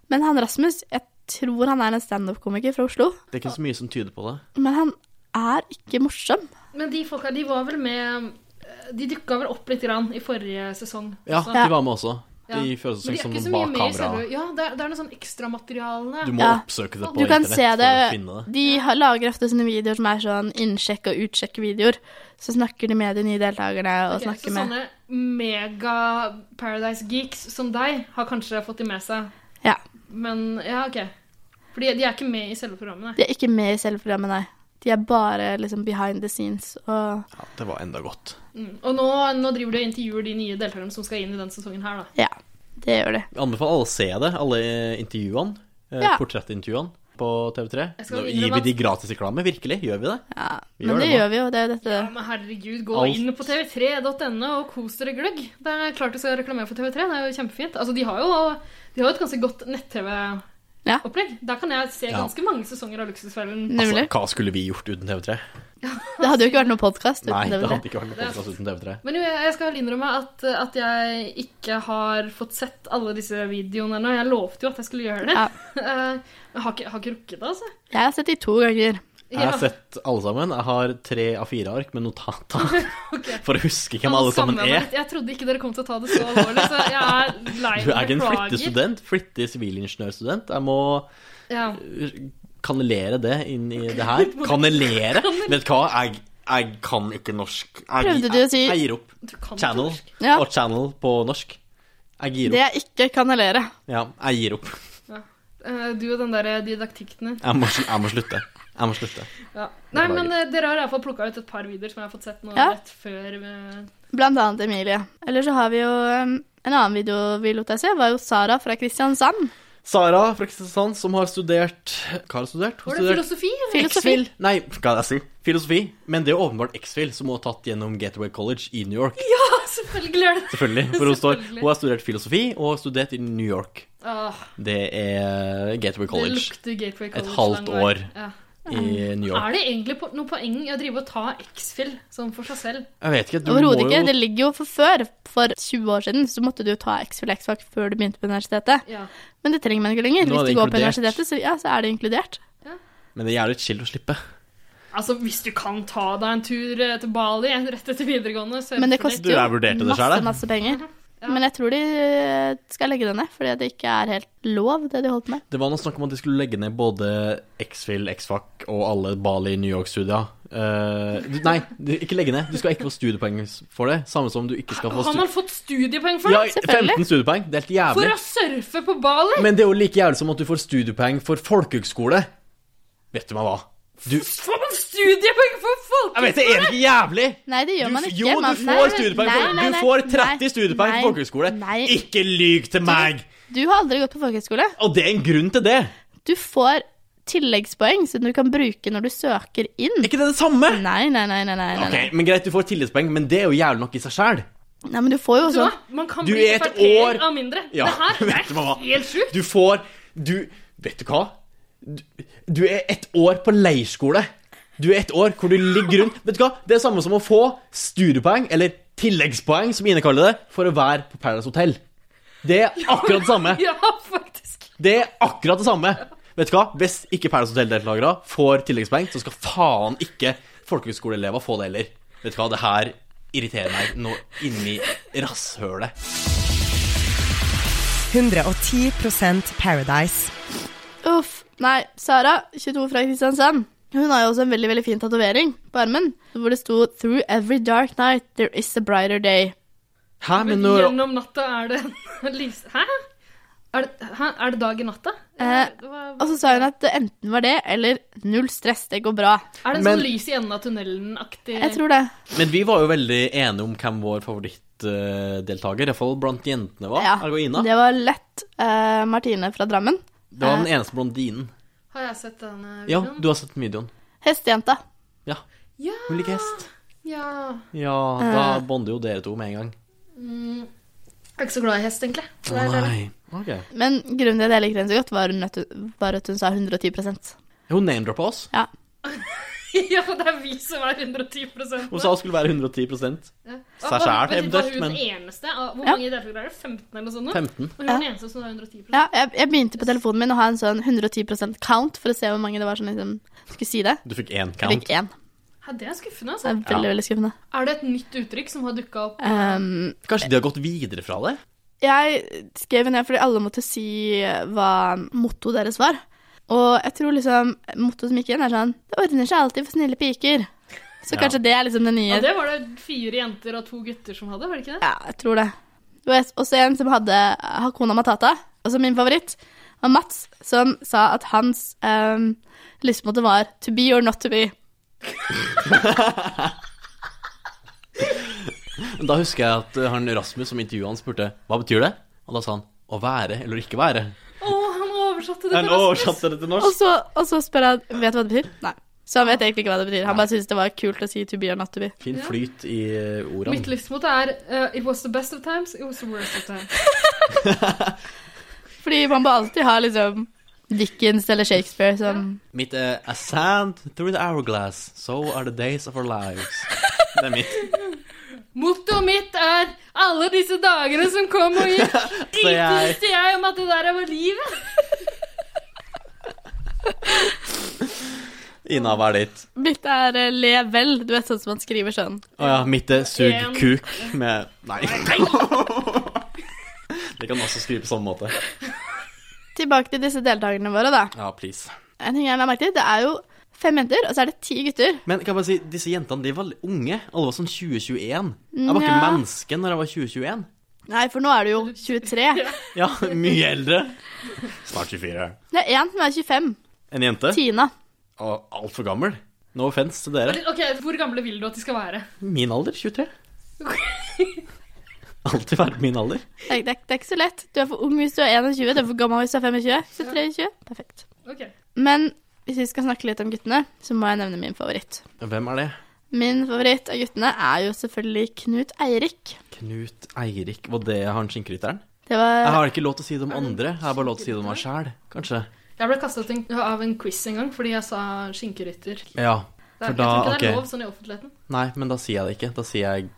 Speaker 2: Men han Rasmus, jeg tror han er en standup-komiker fra Oslo.
Speaker 1: Det er ikke så mye som tyder på det.
Speaker 2: Men han er ikke morsom.
Speaker 4: Men de folka, de var vel med eh, De dukka vel opp litt grann i forrige sesong.
Speaker 1: Ja,
Speaker 4: også.
Speaker 1: de var med også. De
Speaker 4: Ja.
Speaker 1: føler
Speaker 4: Men
Speaker 1: seg
Speaker 4: de er
Speaker 1: som
Speaker 4: ikke
Speaker 1: noen
Speaker 4: så mye
Speaker 1: bak
Speaker 4: med i
Speaker 1: kamera.
Speaker 4: selve Ja, det er, det er noe sånn ekstramateriale.
Speaker 1: Du må
Speaker 2: Ja.
Speaker 1: oppsøke det på
Speaker 2: Du kan
Speaker 1: internett
Speaker 2: se det.
Speaker 1: for å finne det.
Speaker 2: De har, lager ofte sånne videoer som er sånn innsjekk- og utsjekk-videoer. Så snakker de med de nye deltakerne og
Speaker 4: Ok,
Speaker 2: snakker
Speaker 4: så
Speaker 2: med
Speaker 4: sånne mega Paradise Geeks som deg har kanskje fått de med seg.
Speaker 2: Ja.
Speaker 4: Men ja, OK. Fordi de er ikke med i selve programmet. Nei.
Speaker 2: De er ikke med i selve programmet, nei. De er bare liksom behind the scenes og
Speaker 1: Ja, det var enda godt.
Speaker 4: Mm. Og nå, nå driver de og intervjuer de nye deltakerne som skal inn i den sesongen her, da.
Speaker 2: Ja, det gjør de.
Speaker 1: Jeg anbefaler alle å se det, alle intervjuene. eh,
Speaker 2: Ja.
Speaker 1: Portrettintervjuene på TV3.
Speaker 4: Jeg skal
Speaker 1: Da
Speaker 4: innrømme
Speaker 1: gir vi
Speaker 4: at-
Speaker 1: de gratisreklame, virkelig? Gjør vi det?
Speaker 2: Ja,
Speaker 1: Vi
Speaker 2: men
Speaker 1: gjør
Speaker 2: det
Speaker 1: det nå.
Speaker 2: gjør vi jo. Det er jo dette
Speaker 4: Ja, men herregud, gå
Speaker 1: Alt.
Speaker 4: inn på tv3.no E og kos dere gløgg. Det er klart du skal reklamere for TV3, det er jo kjempefint. Altså, de har jo, de har jo et ganske godt
Speaker 2: Ja.
Speaker 4: nett-TV-opplegg. Der kan jeg se
Speaker 1: Ja.
Speaker 4: ganske mange sesonger av Luksusfellen.
Speaker 1: Altså,
Speaker 2: Nemlig.
Speaker 1: hva skulle vi gjort uten TV3?
Speaker 2: Det hadde jo ikke vært noen podkast uten
Speaker 1: Nei, det
Speaker 2: DVD.
Speaker 1: hadde ikke vært noen podkast uten TV3.
Speaker 4: Men jo, jeg jeg skal vel innrømme at, at jeg ikke har fått sett alle disse videoene ennå. Jeg lovte jo at jeg skulle gjøre det.
Speaker 2: Ja.
Speaker 4: Eh, Jeg har ikke, jeg har ikke rukket det, altså.
Speaker 2: Jeg har sett de to ganger.
Speaker 1: Jeg har
Speaker 4: Ja.
Speaker 1: sett alle sammen. Jeg har tre av fire ark med notater
Speaker 4: Ok.
Speaker 1: for å huske hvem alle sammen E?
Speaker 4: Samler meg
Speaker 1: er.
Speaker 4: litt. Jeg trodde ikke dere kom til å ta det så alvorlig, så jeg er lei
Speaker 1: Du er ikke en flittig
Speaker 4: beklager.
Speaker 1: student. Flittig sivilingeniørstudent. Jeg må
Speaker 4: Ja.
Speaker 1: kanelere det inn i det her. Kanelere? Vet du hva, jeg, jeg kan ikke norsk. Jeg,
Speaker 2: Prøvde du å si-
Speaker 1: jeg, jeg gir opp.
Speaker 4: Du kan ikke
Speaker 1: Channel
Speaker 4: norsk.
Speaker 2: Ja.
Speaker 1: og channel på norsk. Jeg gir
Speaker 2: Det
Speaker 1: opp.
Speaker 2: jeg ikke kanalere.
Speaker 1: Ja, jeg gir opp.
Speaker 4: Eh, Du og den der didaktikken din.
Speaker 1: Jeg må, sl- jeg må slutte. Jeg må slutte.
Speaker 4: Ja. Nei,
Speaker 1: Beklager.
Speaker 4: men eh, dere har iallfall plukka ut et par videoer som jeg har fått sett nå
Speaker 2: Ja.
Speaker 4: rett før eh,
Speaker 2: Blant annet Emilie. Eller så har vi jo um, en annen video vi lot deg se, var jo Sara fra Kristiansand.
Speaker 1: Sara fra Kristiansand, som har studert Hva har hun studert? Hun
Speaker 4: Var
Speaker 1: har
Speaker 4: det
Speaker 1: studert
Speaker 4: filosofi? eller?
Speaker 2: Filosofi.
Speaker 1: Nei, hva er det jeg sier? Filosofi. Men det er jo åpenbart X-Fil, som hun har tatt gjennom Gateway College i New York.
Speaker 4: Ja, selvfølgelig gjør det
Speaker 1: Selvfølgelig. For hun, står,
Speaker 4: Selvfølgelig.
Speaker 1: hun har studert filosofi, og har studert i New York.
Speaker 4: Åh,
Speaker 1: Det er Gateway
Speaker 4: Det
Speaker 1: College
Speaker 4: lukter Gateway College.
Speaker 1: halvt
Speaker 4: lang vei.
Speaker 1: år.
Speaker 4: Ja.
Speaker 1: i New York.
Speaker 4: Er det egentlig po- noe poeng i å drive og ta X-Fill sånn for seg selv?
Speaker 1: Jeg vet ikke, du må
Speaker 2: Overhodet ikke.
Speaker 1: jo
Speaker 2: Det ligger jo for før. For 20 år siden så måtte du jo ta X-Fill X-Fac før du begynte på universitetet.
Speaker 4: Ja.
Speaker 2: Men det trenger man ikke lenger.
Speaker 1: Nå er
Speaker 2: Hvis
Speaker 1: det
Speaker 2: du går på
Speaker 1: inkludert.
Speaker 2: universitetet, så, ja, så er det inkludert.
Speaker 1: Men det er jævlig chill å slippe.
Speaker 4: Altså, hvis du kan ta deg en tur eh, til Bali rett etter videregående så
Speaker 2: Men det
Speaker 4: hvorfor
Speaker 2: koster
Speaker 1: Du,
Speaker 2: jo
Speaker 1: jeg vurderte det selv,
Speaker 2: masse,
Speaker 1: jeg.
Speaker 2: masse penger. Men jeg tror de eh, skal legge det ned, fordi det ikke er helt lov, det de holdt på med.
Speaker 1: Det var noe snakk om at de skulle legge ned både X-Fil, X-Fac og alle Bali New York-studier. Eh, du- nei, du, ikke legge ned. Du skal ikke få studiepoeng for det. Samme som du ikke skal få
Speaker 4: Har
Speaker 1: stu
Speaker 4: man fått studiepoeng for
Speaker 1: ja,
Speaker 4: det?
Speaker 1: 15 studiepoeng. Det er helt
Speaker 4: For
Speaker 1: jævlig.
Speaker 4: å surfe på Bali?
Speaker 1: Men det er jo like jævlig som at du får studiepoeng for folkehøgskole. Vet du meg hva? Du
Speaker 4: Får man studiepoeng for folk?
Speaker 1: Jeg vet det er ikke jævlig!
Speaker 2: Nei, det gjør
Speaker 1: Du,
Speaker 2: man ikke.
Speaker 1: jo,
Speaker 2: man,
Speaker 1: du
Speaker 2: nei,
Speaker 1: får
Speaker 2: nei,
Speaker 1: studiepoeng. for-
Speaker 2: nei,
Speaker 1: du
Speaker 2: nei,
Speaker 1: får
Speaker 2: nei,
Speaker 1: 30 studiepoeng
Speaker 2: nei,
Speaker 1: for folkehøgskole.
Speaker 2: Nei,
Speaker 1: Ikke lyg til meg!
Speaker 2: du har aldri gått på folkehøyskole.
Speaker 1: Og det er en grunn til det.
Speaker 2: Du får tilleggspoeng som du kan bruke når du søker inn.
Speaker 1: Er ikke det det samme?
Speaker 2: Nei, nei, nei. nei, nei, nei.
Speaker 1: Ok, men Greit, du får tilleggspoeng, men det er jo jævlig nok i seg sjæl.
Speaker 2: nei men du får jo
Speaker 4: Så,
Speaker 2: også
Speaker 4: man kan
Speaker 1: altså, Du
Speaker 4: bli
Speaker 1: er et
Speaker 4: kvarter
Speaker 1: år-
Speaker 4: av mindre.
Speaker 1: Ja,
Speaker 4: det her det
Speaker 1: vet du hva?
Speaker 4: er helt sjukt.
Speaker 1: Du får Du Vet du hva? Du, du er ett år på leirskole. Du er ett år hvor du ligger rundt. Vet du hva? Det er det samme som å få studiepoeng, eller tilleggspoeng, som Ine kaller det, for å være på Paradise Hotel. Det er akkurat det samme.
Speaker 4: Ja, faktisk.
Speaker 1: Det er akkurat det samme. Vet du hva? Hvis ikke Paradise Hotel-deltakere får tilleggspoeng, så skal faen ikke folkehøyskoleelever få det heller. Vet du hva? Det her irriterer meg nå inni rasshølet.
Speaker 10: 110 Paradise.
Speaker 2: Uff. Nei, Sara, 22 fra Kristiansand. Hun har jo også en veldig veldig fin tatovering på armen, hvor det sto 'Through every dark night there is a brighter day'.
Speaker 1: Hæ, men
Speaker 4: Men
Speaker 1: når
Speaker 4: Gjennom natta er det en lys... Hæ? Er det, hæ? Er det dag i natta?
Speaker 2: Eh,
Speaker 4: Det var-
Speaker 2: og så sa hun at det enten var det eller 'null stress, det går bra'.
Speaker 4: er det en
Speaker 1: men-
Speaker 4: sånn lys i enden av tunnelen-aktig
Speaker 2: Jeg tror det.
Speaker 1: Men vi var jo veldig enige om hvem vår favorittdeltaker, iallfall blant jentene, var.
Speaker 2: Ja,
Speaker 1: Ergo-Ina.
Speaker 2: Det var lett. Eh, Martine fra Drammen.
Speaker 1: Det var den eneste blondinen.
Speaker 4: Har jeg sett denne
Speaker 1: Ja,
Speaker 4: videoen?
Speaker 1: du har sett videoen.
Speaker 2: Hestejenta.
Speaker 1: Ja.
Speaker 4: Ja,
Speaker 1: Hun liker hest.
Speaker 4: ja.
Speaker 1: Ja, da bonder jo dere to med en gang.
Speaker 4: Jeg er ikke så glad i hest, egentlig. Så det er det.
Speaker 1: Nei. Ok.
Speaker 2: Men grunnen til at jeg likte henne så godt, var, hun at hun, var at hun sa 110
Speaker 1: Hun name-droppa oss.
Speaker 2: Ja.
Speaker 4: ja, det er vi som er 110
Speaker 1: Hun sa hun skulle være 110
Speaker 4: Ja,
Speaker 1: seg
Speaker 4: var-
Speaker 1: selv,
Speaker 4: vet du,
Speaker 1: eventuelt,
Speaker 4: Var hun
Speaker 1: men-
Speaker 4: eneste? av- Hvor
Speaker 2: Ja.
Speaker 4: mange deltakere er det? 15 eller noe sånt? nå?
Speaker 1: 15.
Speaker 4: Og hun er den eneste som er 110
Speaker 2: ja jeg, jeg begynte på telefonen min å ha en sånn 110 count for å se hvor mange det var som liksom skulle si det.
Speaker 1: Du fikk én
Speaker 2: Jeg
Speaker 1: count.
Speaker 2: fikk én.
Speaker 4: Hæ, Det er skuffende,
Speaker 2: Det
Speaker 4: altså.
Speaker 2: er veldig, veldig skuffende.
Speaker 4: Er det et nytt uttrykk som har dukka opp?
Speaker 2: Ehm,
Speaker 1: Kanskje de har gått videre fra det?
Speaker 2: jeg skrev ned fordi alle måtte si hva mottoet deres var. Og jeg tror liksom mottoet som gikk igjen, er sånn Det ordner seg alltid for snille piker. Så
Speaker 1: Ja.
Speaker 2: kanskje det er liksom det nye.
Speaker 4: Ja, det var det fire jenter og to gutter som hadde, var det ikke det?
Speaker 2: Ja, jeg tror det. Det var også en som hadde Hakuna Matata, også min favoritt, var Mats, som sa at hans um, lystmåte var 'to be or not to be'.
Speaker 1: Men Da husker jeg at eh, han Rasmus som intervjua han, spurte hva betyr det? Og da sa han å være eller ikke være.
Speaker 4: Å, han oversatte det
Speaker 1: Han
Speaker 4: til Rasmus!
Speaker 1: oversatte det til
Speaker 2: Og
Speaker 1: norsk.
Speaker 2: så, og så spør han 'vet du hva det betyr'? Nei. Så han vet egentlig ikke hva det betyr. Han bare syntes det var kult å si 'to be or not to be'.
Speaker 1: Fin flyt i eh,
Speaker 4: Mitt
Speaker 1: ordene.
Speaker 4: livsmot er eh, It was the best of times, it was the worst of times.
Speaker 2: Fordi man må alltid ha liksom Dickens eller Shakespeare som
Speaker 1: Mitt er A sand through the hourglass, so are the days of our lives. Det er mitt.
Speaker 4: Mottoet mitt er alle disse dagene som kom og gikk. Ikke
Speaker 1: jeg-
Speaker 4: visste jeg om at det der var livet.
Speaker 1: Ina, hva er ditt?
Speaker 2: Mitt er eh, 'le vel', du vet sånn som man skriver sånn.
Speaker 1: Å ja, mitt er sug
Speaker 4: En.
Speaker 1: kuk med Nei. Det kan også skrive på samme måte.
Speaker 2: Tilbake til disse deltakerne våre, da.
Speaker 1: Ja, please.
Speaker 2: En ting jeg la merke til, det er jo fem jenter, og så er det ti gutter.
Speaker 1: Men kan jeg bare si, disse jentene de var unge. Alle var sånn 2021. Jeg var ikke
Speaker 2: Nja.
Speaker 1: menneske når jeg var 2021.
Speaker 2: Nei, for nå er du jo 23.
Speaker 1: Ja, mye eldre. Snart 24.
Speaker 2: Det er én som er 25.
Speaker 1: En jente.
Speaker 2: Tina.
Speaker 1: Og altfor gammel. No offense til dere.
Speaker 4: Ok, Hvor gamle vil du at de skal være?
Speaker 1: Min alder, 23. Alltid vært min alder.
Speaker 2: Det er, det, er, det er ikke så lett. Du er for ung hvis du er 21, du er for gammel hvis du er 25. 23, 20. Perfekt.
Speaker 4: Ok,
Speaker 2: Men hvis vi skal snakke litt om guttene, så må jeg nevne min favoritt.
Speaker 1: Hvem er det?
Speaker 2: Min favoritt av guttene er jo selvfølgelig Knut Eirik.
Speaker 1: Knut Eirik. Var det han skinnkrydteren?
Speaker 4: Eh,
Speaker 2: Det var
Speaker 1: Jeg har ikke lov til å si det om andre. Jeg har bare lov til å si det om meg sjæl, kanskje.
Speaker 4: Jeg ble kasta av en quiz en gang fordi jeg sa skinkerytter. Det
Speaker 1: Ja.
Speaker 4: er,
Speaker 1: For
Speaker 4: jeg tror
Speaker 1: da,
Speaker 4: ikke det er
Speaker 1: ok.
Speaker 4: lov sånn i offentligheten.
Speaker 1: Nei, men da sier jeg det ikke. Da sier jeg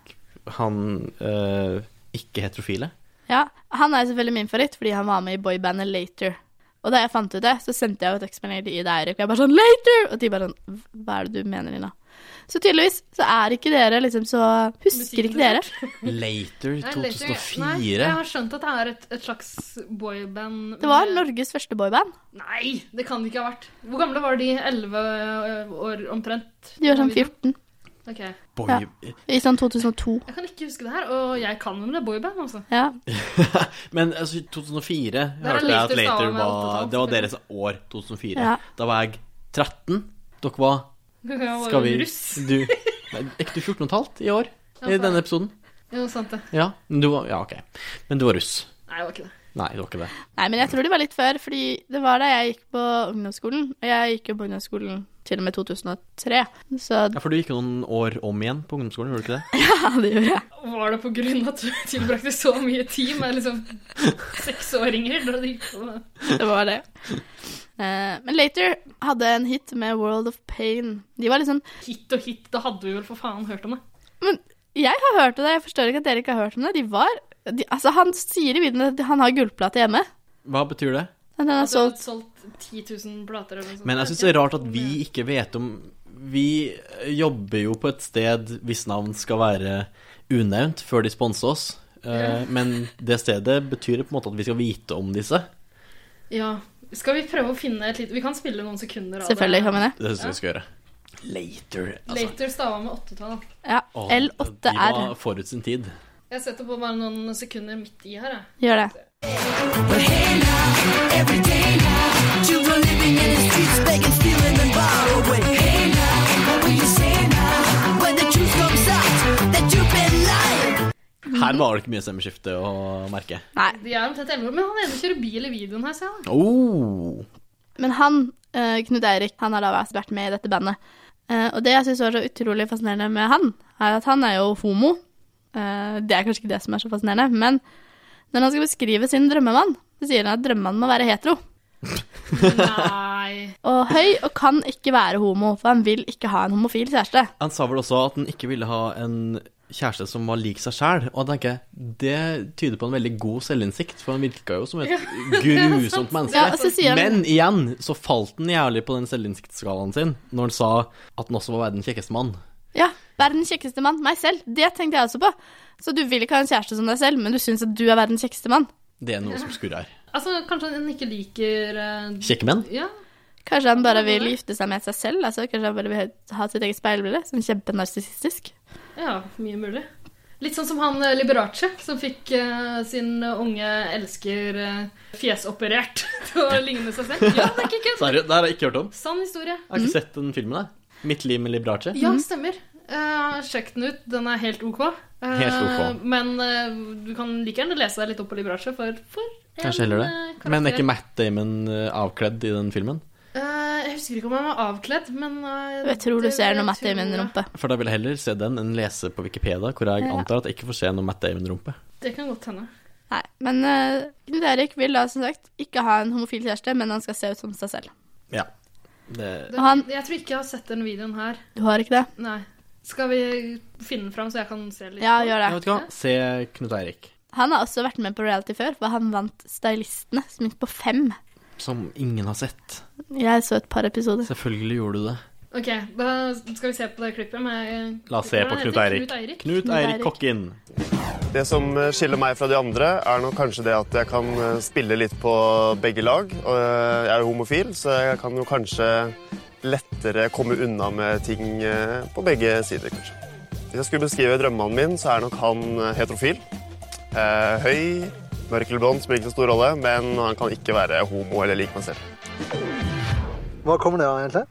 Speaker 1: han øh, ikke-heterofile.
Speaker 2: Ja, han er selvfølgelig min favoritt fordi han var med i boybandet Later. Og da jeg fant ut det, så sendte jeg jo tekstmelding til Ida og Eirik. Og jeg bare sånn Later! Og de bare sånn Hva er det du mener, Lina? Så tydeligvis så er ikke dere liksom så Husker ikke dere?
Speaker 1: Later
Speaker 4: Nei, later- Nei, jeg
Speaker 1: 2004.
Speaker 4: har skjønt at det er et, et slags boyband.
Speaker 2: Det var
Speaker 4: med-
Speaker 2: Norges første boyband.
Speaker 4: Nei, det kan det ikke ha vært. Hvor gamle var de? 11 år omtrent?
Speaker 2: De var sånn 14.
Speaker 4: Ok.
Speaker 1: Boy.
Speaker 2: Ja. I sånn 2002.
Speaker 4: Jeg kan ikke huske det her, og jeg kan jo det boyband, altså.
Speaker 2: Ja.
Speaker 1: Men altså, 2004
Speaker 4: er
Speaker 1: hørte jeg at
Speaker 4: Later
Speaker 1: Later
Speaker 4: stavet med
Speaker 1: var
Speaker 4: åttetall.
Speaker 1: Det var deres år, 2004.
Speaker 2: Ja.
Speaker 1: Da var jeg 13. Dere var
Speaker 4: Jeg var
Speaker 1: Skal vi
Speaker 4: jo Russ.
Speaker 1: Du Nei, Er ikke du 14 15 i år? I
Speaker 4: faen.
Speaker 1: denne episoden?
Speaker 4: Jo, sant det.
Speaker 1: Ja. Men du var Ja, OK. Men du var russ.
Speaker 4: Nei, det var ikke det.
Speaker 1: Nei, det var ikke det.
Speaker 2: Nei, men jeg tror det var litt før, fordi det var da jeg gikk på ungdomsskolen. Og jeg gikk jo på ungdomsskolen til og med 2003, så
Speaker 1: Ja, For du gikk noen år om igjen på ungdomsskolen, gjorde du ikke det?
Speaker 2: ja, det gjorde jeg.
Speaker 4: Var det på grunn av at du tilbrakte så mye tid med liksom seksåringer? Da de gikk på det?
Speaker 2: Det var det. Eh, men Later hadde en hit med World of Pain. De var liksom
Speaker 4: Hit og hit, da hadde vi vel for faen hørt om det.
Speaker 2: Jeg har hørt det, jeg forstår ikke at dere ikke har hørt om det. De var de, Altså, han sier i videoen at han har gullplate hjemme.
Speaker 1: Hva betyr det?
Speaker 2: At han har
Speaker 4: At det hadde
Speaker 2: solgt
Speaker 4: solgt 10 000 plater eller noe sånt.
Speaker 1: Men jeg syns det er rart at vi ikke vet om Vi jobber jo på et sted hvis navn skal være unevnt før de sponser oss. Eh, Men det stedet betyr på en måte at vi skal vite om disse.
Speaker 4: Ja. Skal vi prøve å finne et lite Vi kan spille noen sekunder av
Speaker 2: Selvfølgelig kan man det.
Speaker 1: Det syns jeg vi skal gjøre. Later. Altså.
Speaker 4: Later stava med åttetall.
Speaker 2: Ja.
Speaker 1: Å, De
Speaker 2: L8R.
Speaker 1: var forut sin tid.
Speaker 4: Jeg setter på bare noen sekunder midt i her, jeg.
Speaker 2: Gjør det.
Speaker 1: Her var det ikke mye stemmeskifte å merke.
Speaker 2: Nei.
Speaker 4: De er omtrent 11 år, men han ene kjører bil i videoen her, ser jeg. da.
Speaker 1: Oh.
Speaker 2: Men han, eh, Knut Eirik, han har da vært med i dette bandet. Eh, og det jeg syns var så utrolig fascinerende med han, er at han er jo homo. Eh, det er kanskje ikke det som er så fascinerende, men når han skal beskrive sin drømmemann, så sier han at drømmemannen må være hetero.
Speaker 4: Nei.
Speaker 2: Og høy og kan ikke være homo, for han vil ikke ha en homofil kjæreste.
Speaker 1: Han sa vel også at han ikke ville ha en kjæreste som var lik seg sjæl. Og da tenker jeg, det tyder på en veldig god selvinnsikt, for han virka jo som et grusomt menneske.
Speaker 2: Ja, og så sier han
Speaker 1: Men igjen så falt han jævlig på den selvinnsiktsskalaen sin når han sa at han også var verdens kjekkeste mann.
Speaker 2: Ja, verdens kjekkeste mann. Meg selv. Det tenkte jeg også på. Så du vil ikke ha en kjæreste som deg selv, men du syns at du er verdens kjekkeste mann.
Speaker 1: Det er noe som skurrer her.
Speaker 4: Altså, kanskje han ikke liker eh,
Speaker 1: Kjekke menn?
Speaker 4: Ja.
Speaker 2: Kanskje han bare vil gifte seg med seg selv? Altså, kanskje han bare vil ha sitt eget speilbilde, som kjempenarsissistisk?
Speaker 4: ja, mye mulig. Litt sånn som han eh, Liberace, som fikk eh, sin unge elsker eh, fjesoperert til å ligne seg selv. Ja, det er ikke kødd.
Speaker 1: Seriøst, det har jeg ikke hørt om.
Speaker 4: Sann historie.
Speaker 1: Jeg
Speaker 2: Mhm.
Speaker 1: har ikke sett den filmen der. Mitt liv med Librace.
Speaker 4: Ja, stemmer. Eh, sjekk den ut. Den er helt ok. Eh,
Speaker 1: Helt ok.
Speaker 4: Men eh, du kan like gjerne lese deg litt opp på Liberace, for, for en,
Speaker 1: Kanskje heller det.
Speaker 4: eh,
Speaker 1: Men er
Speaker 4: karakter.
Speaker 1: ikke Matt Damon eh, avkledd i den filmen?
Speaker 4: Eh, Jeg husker ikke om han var avkledd, men eh,
Speaker 2: Jeg tror du
Speaker 4: det-
Speaker 2: ser noe
Speaker 4: jeg
Speaker 2: Matt
Speaker 4: tror-
Speaker 2: Damon-rumpe.
Speaker 1: For da vil jeg heller se den enn lese på Wikipedia, hvor jeg antar at jeg ikke får se noe Matt Damon-rumpe.
Speaker 4: Det kan godt hende.
Speaker 2: Nei, men eh, Knut Erik vil da som sagt ikke ha en homofil kjæreste, men han skal se ut som seg selv.
Speaker 1: Ja. Det,
Speaker 4: Det,
Speaker 2: Og han-
Speaker 4: Jeg tror ikke jeg har sett den videoen her.
Speaker 2: Du har ikke det?
Speaker 4: Nei. Skal vi finne den fram, så jeg kan se litt?
Speaker 2: Ja,
Speaker 4: på den?
Speaker 1: Jeg
Speaker 2: gjør det.
Speaker 1: vet ikke hva. Se Knut Eirik.
Speaker 2: Han har også vært med på reality før, for han vant Stylistene, som gikk på fem.
Speaker 1: Som ingen har sett.
Speaker 2: Jeg så et par episoder.
Speaker 1: Selvfølgelig gjorde du det.
Speaker 4: Ok, da skal vi se på det klippet med
Speaker 1: La oss se på
Speaker 4: Hva heter
Speaker 1: Knut Eirik.
Speaker 4: Knut Eirik.
Speaker 1: Knut
Speaker 2: Knut
Speaker 1: Eirik
Speaker 2: Eirik.
Speaker 1: Kokkin.
Speaker 11: Det som eh, skiller meg fra de andre, er nok kanskje det at jeg kan eh, spille litt på begge lag. Og eh, jeg er jo homofil, så jeg kan jo kanskje lettere komme unna med ting eh, på begge sider, kanskje. Hvis jeg skulle beskrive drømmemannen min, så er nok han heterofil. Eh, høy, mørk eller blond spiller ikke så stor rolle, men han kan ikke være homo eller lik meg selv.
Speaker 12: Hva kommer det av, egentlig?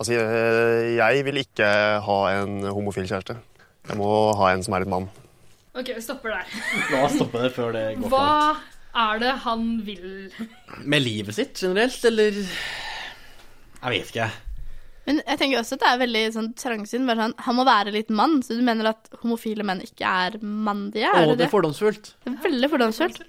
Speaker 11: Altså, jeg, jeg vil ikke ha en homofil kjæreste. Jeg må ha en som er litt mann.
Speaker 4: Ok, vi stopper der.
Speaker 1: La oss stoppe det før det går for langt.
Speaker 4: Hva er det han vil?
Speaker 1: Med livet sitt generelt, eller Jeg vet ikke.
Speaker 2: Men jeg tenker også at det er veldig sånn trangsyn. Bare sånn, han må være litt mann, så du mener at homofile menn ikke er mandige?
Speaker 1: Å,
Speaker 2: Er
Speaker 1: det
Speaker 2: det
Speaker 1: er
Speaker 2: det?
Speaker 1: fordomsfullt.
Speaker 2: Det er veldig fordomsfullt.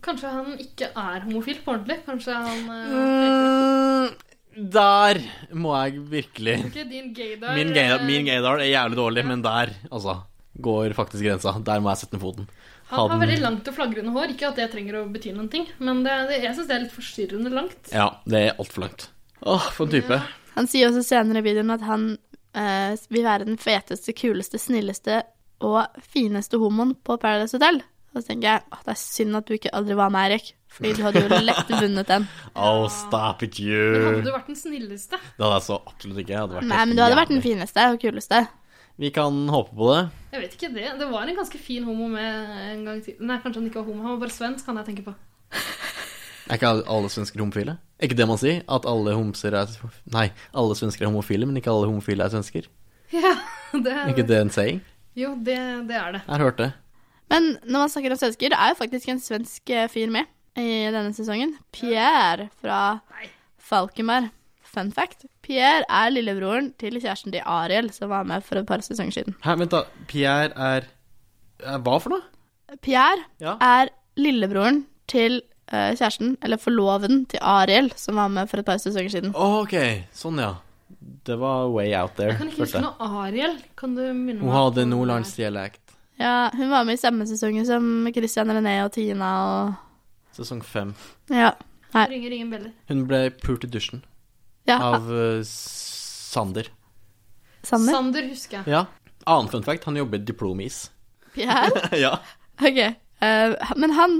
Speaker 4: Kanskje han ikke er homofil på ordentlig? Kanskje han eh,
Speaker 1: Mm, der må jeg virkelig
Speaker 4: ikke Din eh, gaydar
Speaker 1: Min gaydar, min gaydar er jævlig dårlig, men der, altså, går faktisk grensa. Der må jeg sette ned foten.
Speaker 4: Han har
Speaker 1: den-
Speaker 4: veldig langt og flagrende hår. Ikke at det trenger å bety noen ting, men det, det, jeg syns det er litt forstyrrende langt.
Speaker 1: Ja, det er altfor langt. Åh, for en type.
Speaker 2: Han sier også senere i videoen at han eh, vil være den feteste, kuleste, snilleste og fineste homoen på Paradise Hotel. Og så tenker jeg at det er synd at du ikke aldri var med, Erik. Fordi du hadde jo lett vunnet den.
Speaker 1: Oh, stop it, you.
Speaker 4: Men hadde du vært den snilleste?
Speaker 1: Det hadde jeg så absolutt ikke. Jeg hadde vært
Speaker 2: Nei,
Speaker 1: helt
Speaker 2: men du hadde vært
Speaker 1: jævlig.
Speaker 2: den fineste og kuleste.
Speaker 1: Vi kan håpe på det.
Speaker 4: Jeg vet ikke det. Det var en ganske fin homo med en gang til. Nei, kanskje han ikke var homo. Han var bare svensk, han jeg tenker på.
Speaker 1: Er ikke alle svensker homofile? Er ikke det man sier? At alle homser er Nei, alle svensker er homofile, men ikke alle homofile er svensker?
Speaker 4: Ja, det
Speaker 1: Er ikke det en saying?
Speaker 4: Jo, det, det er det.
Speaker 1: Jeg har hørt det.
Speaker 2: Men når man snakker om svensker, det er jo faktisk en svensk eh, fyr med i denne sesongen. Pierre fra Falkenberg. Fun fact. Pierre er lillebroren til kjæresten til Ariel, som var med for et par sesonger siden.
Speaker 1: Hæ, vent, da. Pierre er, er Hva for noe?
Speaker 2: Pierre
Speaker 1: Ja.
Speaker 2: er lillebroren til eh, kjæresten, eller forloveden til Ariel, som var med for et par sesonger siden.
Speaker 1: Å, ok. Sånn, ja. Det var way out there.
Speaker 4: Kan ikke huske noe Ariel. Kan du minne
Speaker 1: Hun
Speaker 4: meg?
Speaker 1: hadde nordlandsdialekt.
Speaker 2: Ja, hun var med i samme sesongen som Christian René og Tina og
Speaker 1: Sesong fem.
Speaker 2: Ja. Nei.
Speaker 4: Ringer ingen beller.
Speaker 1: Hun ble pult i dusjen
Speaker 2: Ja,
Speaker 1: av eh, Sander.
Speaker 2: Sander?
Speaker 4: Sander husker jeg.
Speaker 1: Ja. Annen fun fact, han jobber i Diplomis.
Speaker 2: Pierre?
Speaker 1: ja.
Speaker 2: Ok. eh, men han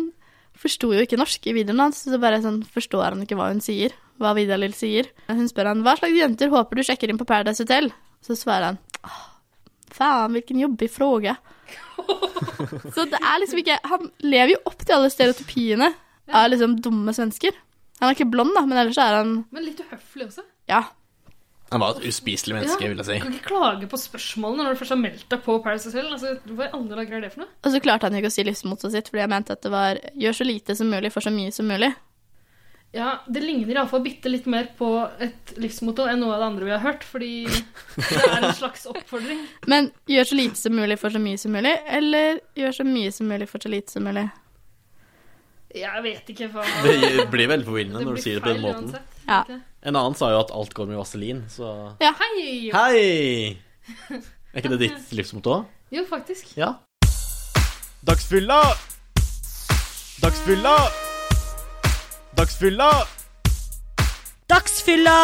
Speaker 2: forsto jo ikke norsk i videoen hans, så bare sånn forstår han ikke hva hun sier. Hva Vidar Lill sier. Hun spør han hva slags jenter håper du sjekker inn på Paradise Hotel? Så svarer han «Åh, faen, hvilken jobbig fråge. så det er liksom ikke Han lever jo opp til alle stereotypiene av liksom dumme svensker. Han er ikke blond, da, men ellers så er han
Speaker 4: Men litt uhøflig også.
Speaker 2: Ja.
Speaker 1: Han var et uspiselig menneske, vil jeg
Speaker 4: Du
Speaker 1: si.
Speaker 4: kan ikke klage på spørsmålene når du først har meldt deg på Paris Hotel. Altså, hva i alle dager er det for noe?
Speaker 2: Og så klarte han jo ikke å si livsmottet sitt, fordi jeg mente at det var gjør så lite som mulig for så mye som mulig.
Speaker 4: Ja, Det ligner iallfall bitte litt mer på et livsmotto enn noe av det andre vi har hørt, fordi det er en slags oppfordring.
Speaker 2: Men gjør så lite som mulig for så mye som mulig, eller gjør så mye som mulig for så lite som mulig?
Speaker 4: Jeg vet ikke hva
Speaker 1: Det blir veldig forvirrende når du
Speaker 4: blir
Speaker 1: sier det på den
Speaker 4: feil
Speaker 1: måten.
Speaker 4: uansett.
Speaker 2: Ja.
Speaker 1: En annen sa jo at alt går med vaselin, så
Speaker 2: Ja.
Speaker 4: Hei!
Speaker 1: Hei! Er ikke det ditt livsmotto?
Speaker 4: Jo, faktisk.
Speaker 1: Ja. Dagsfylla! Dagsfylla! Dagsfylla!
Speaker 10: Dagsfylla!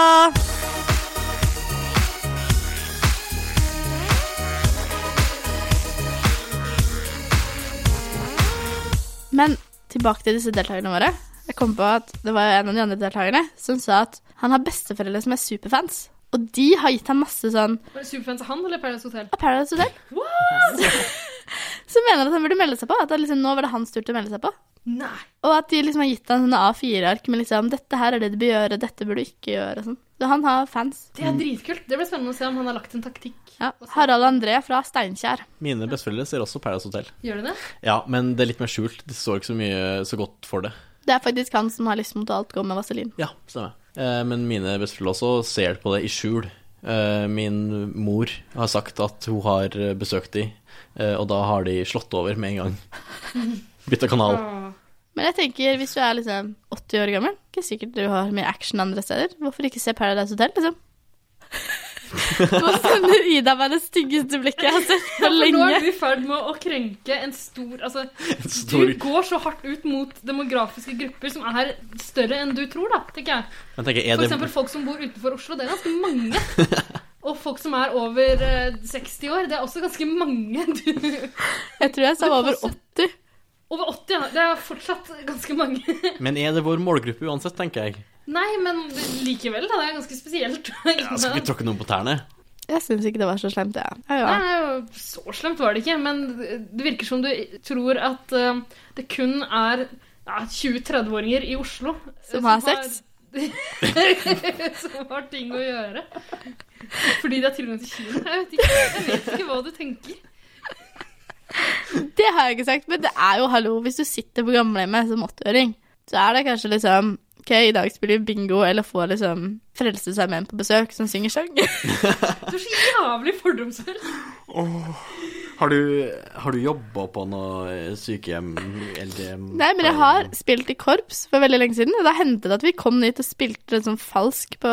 Speaker 2: Men tilbake til disse deltakerne våre. Jeg kom på at det var en av de andre deltakerne som sa at han har besteforeldre som er superfans. Og de har gitt ham masse sånn
Speaker 4: Var det Superfans av han eller Paradise Hotel?
Speaker 2: av Paradise Hotel. Som mener at han burde melde seg på. At det liksom, nå var det hans tur til å melde seg på.
Speaker 4: Nei.
Speaker 2: Og at de liksom har gitt ham sånne A4-ark med liksom 'Dette her er det du bør gjøre. Dette burde du ikke gjøre.' og Sånn. Så han har fans.
Speaker 4: Det
Speaker 1: Mm.
Speaker 4: er dritkult. Det blir spennende å se om han har lagt en taktikk.
Speaker 2: Ja. Harald André fra Steinkjer.
Speaker 1: Mine besteforeldre ser også Paradise Hotel.
Speaker 4: Gjør de det?
Speaker 1: Ja, men det er litt mer skjult. De så ikke så mye så godt for det.
Speaker 2: Det er faktisk han som har lyst mot alt gå med vaselin.
Speaker 1: Ja, stemmer. Eh, men mine besteforeldre også ser på det i skjul. Eh, min mor har sagt at hun har eh, besøkt de, eh, og da har de slått over med en gang. Bytta kanal.
Speaker 2: Men jeg tenker, hvis du er liksom 80 år gammel, ikke sikkert du har mye action andre steder. Hvorfor ikke se Paradise Hotel, liksom? Nå sender Ida meg det styggeste blikket jeg har sett på
Speaker 4: For nå er du
Speaker 2: lenge.
Speaker 4: i ferd med å krenke en stor Altså,
Speaker 1: stor-
Speaker 4: du går så hardt ut mot demografiske grupper som er større enn du tror, da, tenker jeg.
Speaker 1: Men tenker, er
Speaker 4: For
Speaker 1: det
Speaker 4: eksempel folk som bor utenfor Oslo. Det er ganske mange. Og folk som er over eh, 60 år. Det er også ganske mange. Du.
Speaker 2: Jeg tror jeg sa over 80.
Speaker 4: Over 80, ja. Det er fortsatt ganske mange.
Speaker 1: Men er det vår målgruppe uansett, tenker jeg.
Speaker 4: Nei, men likevel, da. Det er ganske spesielt.
Speaker 1: Ja, altså, skal ikke tråkke noen på tærne?
Speaker 2: Jeg syns ikke det var så slemt, jeg. Ja. Ja, ja.
Speaker 4: Nei, så slemt var det ikke, men det virker som du tror at eh, det kun er ja, 20-30-åringer i Oslo
Speaker 2: Som har sex?
Speaker 4: som har ting å gjøre. Fordi de har tilgang til kino. Jeg vet ikke, jeg vet ikke hva du tenker.
Speaker 2: Det har jeg ikke sagt, men det er jo hallo. Hvis du sitter på gamlehjemmet som 80-åring, så er det kanskje liksom OK, i dag spiller vi bingo, eller får liksom Frelsesarmeen på besøk, som synger sang.
Speaker 4: Du er så jævlig fordomsfull.
Speaker 1: Har du, har du jobba på noe eh, sykehjem, eldrehjem
Speaker 2: Nei, men jeg har spilt i korps for veldig lenge siden. Og da hendte det at vi kom dit og spilte litt sånn falsk på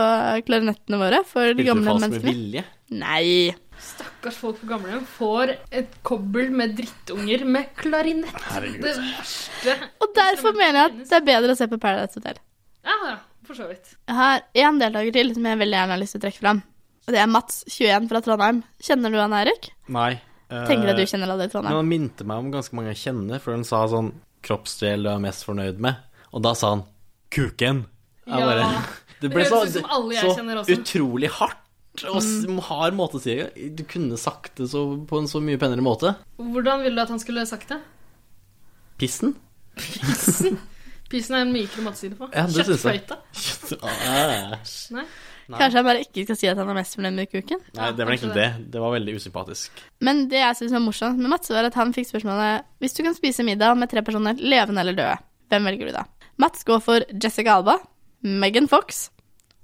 Speaker 2: klarinettene våre. For de
Speaker 1: Spilte du
Speaker 2: gamle
Speaker 1: fast med
Speaker 2: menneskene.
Speaker 1: vilje?
Speaker 2: Nei.
Speaker 4: Stakkars folk på gamlehjem får et kobbel med drittunger med klarinett.
Speaker 1: Herregud.
Speaker 4: Det verste
Speaker 2: Og derfor mener jeg at det er bedre å se på Paradise Hotel.
Speaker 4: Ja, ja, for så vidt.
Speaker 2: Jeg har én deltaker til som jeg veldig gjerne har lyst til å trekke fram. Og det er Mats, 21, fra Trondheim. Kjenner du han, Eirik?
Speaker 1: Nei. eh,
Speaker 2: Tenker at du kjenner alle i
Speaker 1: Men
Speaker 2: Trondheim.
Speaker 1: han minte meg om ganske mange jeg kjenner, for hun sa sånn 'Kroppsdel du er mest fornøyd med', og da sa han 'kuken'. Jeg
Speaker 4: Ja.
Speaker 1: bare- Det ble
Speaker 4: Det
Speaker 1: så,
Speaker 4: høres ut som alle jeg kjenner
Speaker 1: så
Speaker 4: også. Mm.
Speaker 1: utrolig hardt og s- hard måte å si det Du kunne sagt det så, på en så mye penere måte.
Speaker 4: Hvordan ville du at han skulle sagt det?
Speaker 1: Pissen?
Speaker 4: Pisen. Pisen er en mykere måte å si det på.
Speaker 1: Ja, Ah, det synes jeg.
Speaker 4: Kjøttfløyte.
Speaker 1: Æsj.
Speaker 4: Nei.
Speaker 1: Nei.
Speaker 2: Kanskje han bare ikke skal si at han er mest fornøyd med uken?
Speaker 1: Nei, det var egentlig det. Det var veldig usympatisk.
Speaker 2: Men det jeg syns var morsomt med Mats, var at han fikk spørsmålet Hvis du kan spise middag med tre personer, levende eller døde, hvem velger du da? Mats går for Jessica Alba, Megan Fox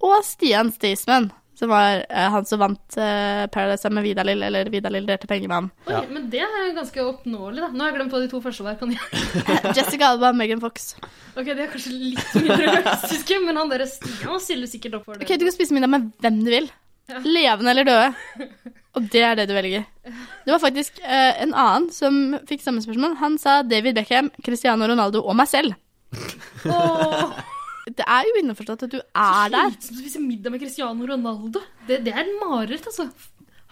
Speaker 2: og Stian Staysman, som var eh, han som vant eh, Paradise sammen med Vidar Lill, eller Vidar Lill delte penger med ham.
Speaker 4: Oi, Men det er ganske oppnåelig, da. Nå har jeg glemt hva de to første var. Kan jeg?
Speaker 2: Jessica Alba, Megan Fox.
Speaker 4: Ok, De er kanskje litt mindre realistiske, men han der Stian han stiller sikkert opp for det.
Speaker 2: Ok, Du kan spise middag med hvem du vil. Levende eller døde. Og det er det du velger. Det var faktisk eh, en annen som fikk samme spørsmål. Han sa David Beckham, Cristiano Ronaldo og meg selv. Det er jo innforstått at du er der.
Speaker 4: Slitsomt å spise middag med Cristiano Ronaldo. Det, det er et mareritt, altså.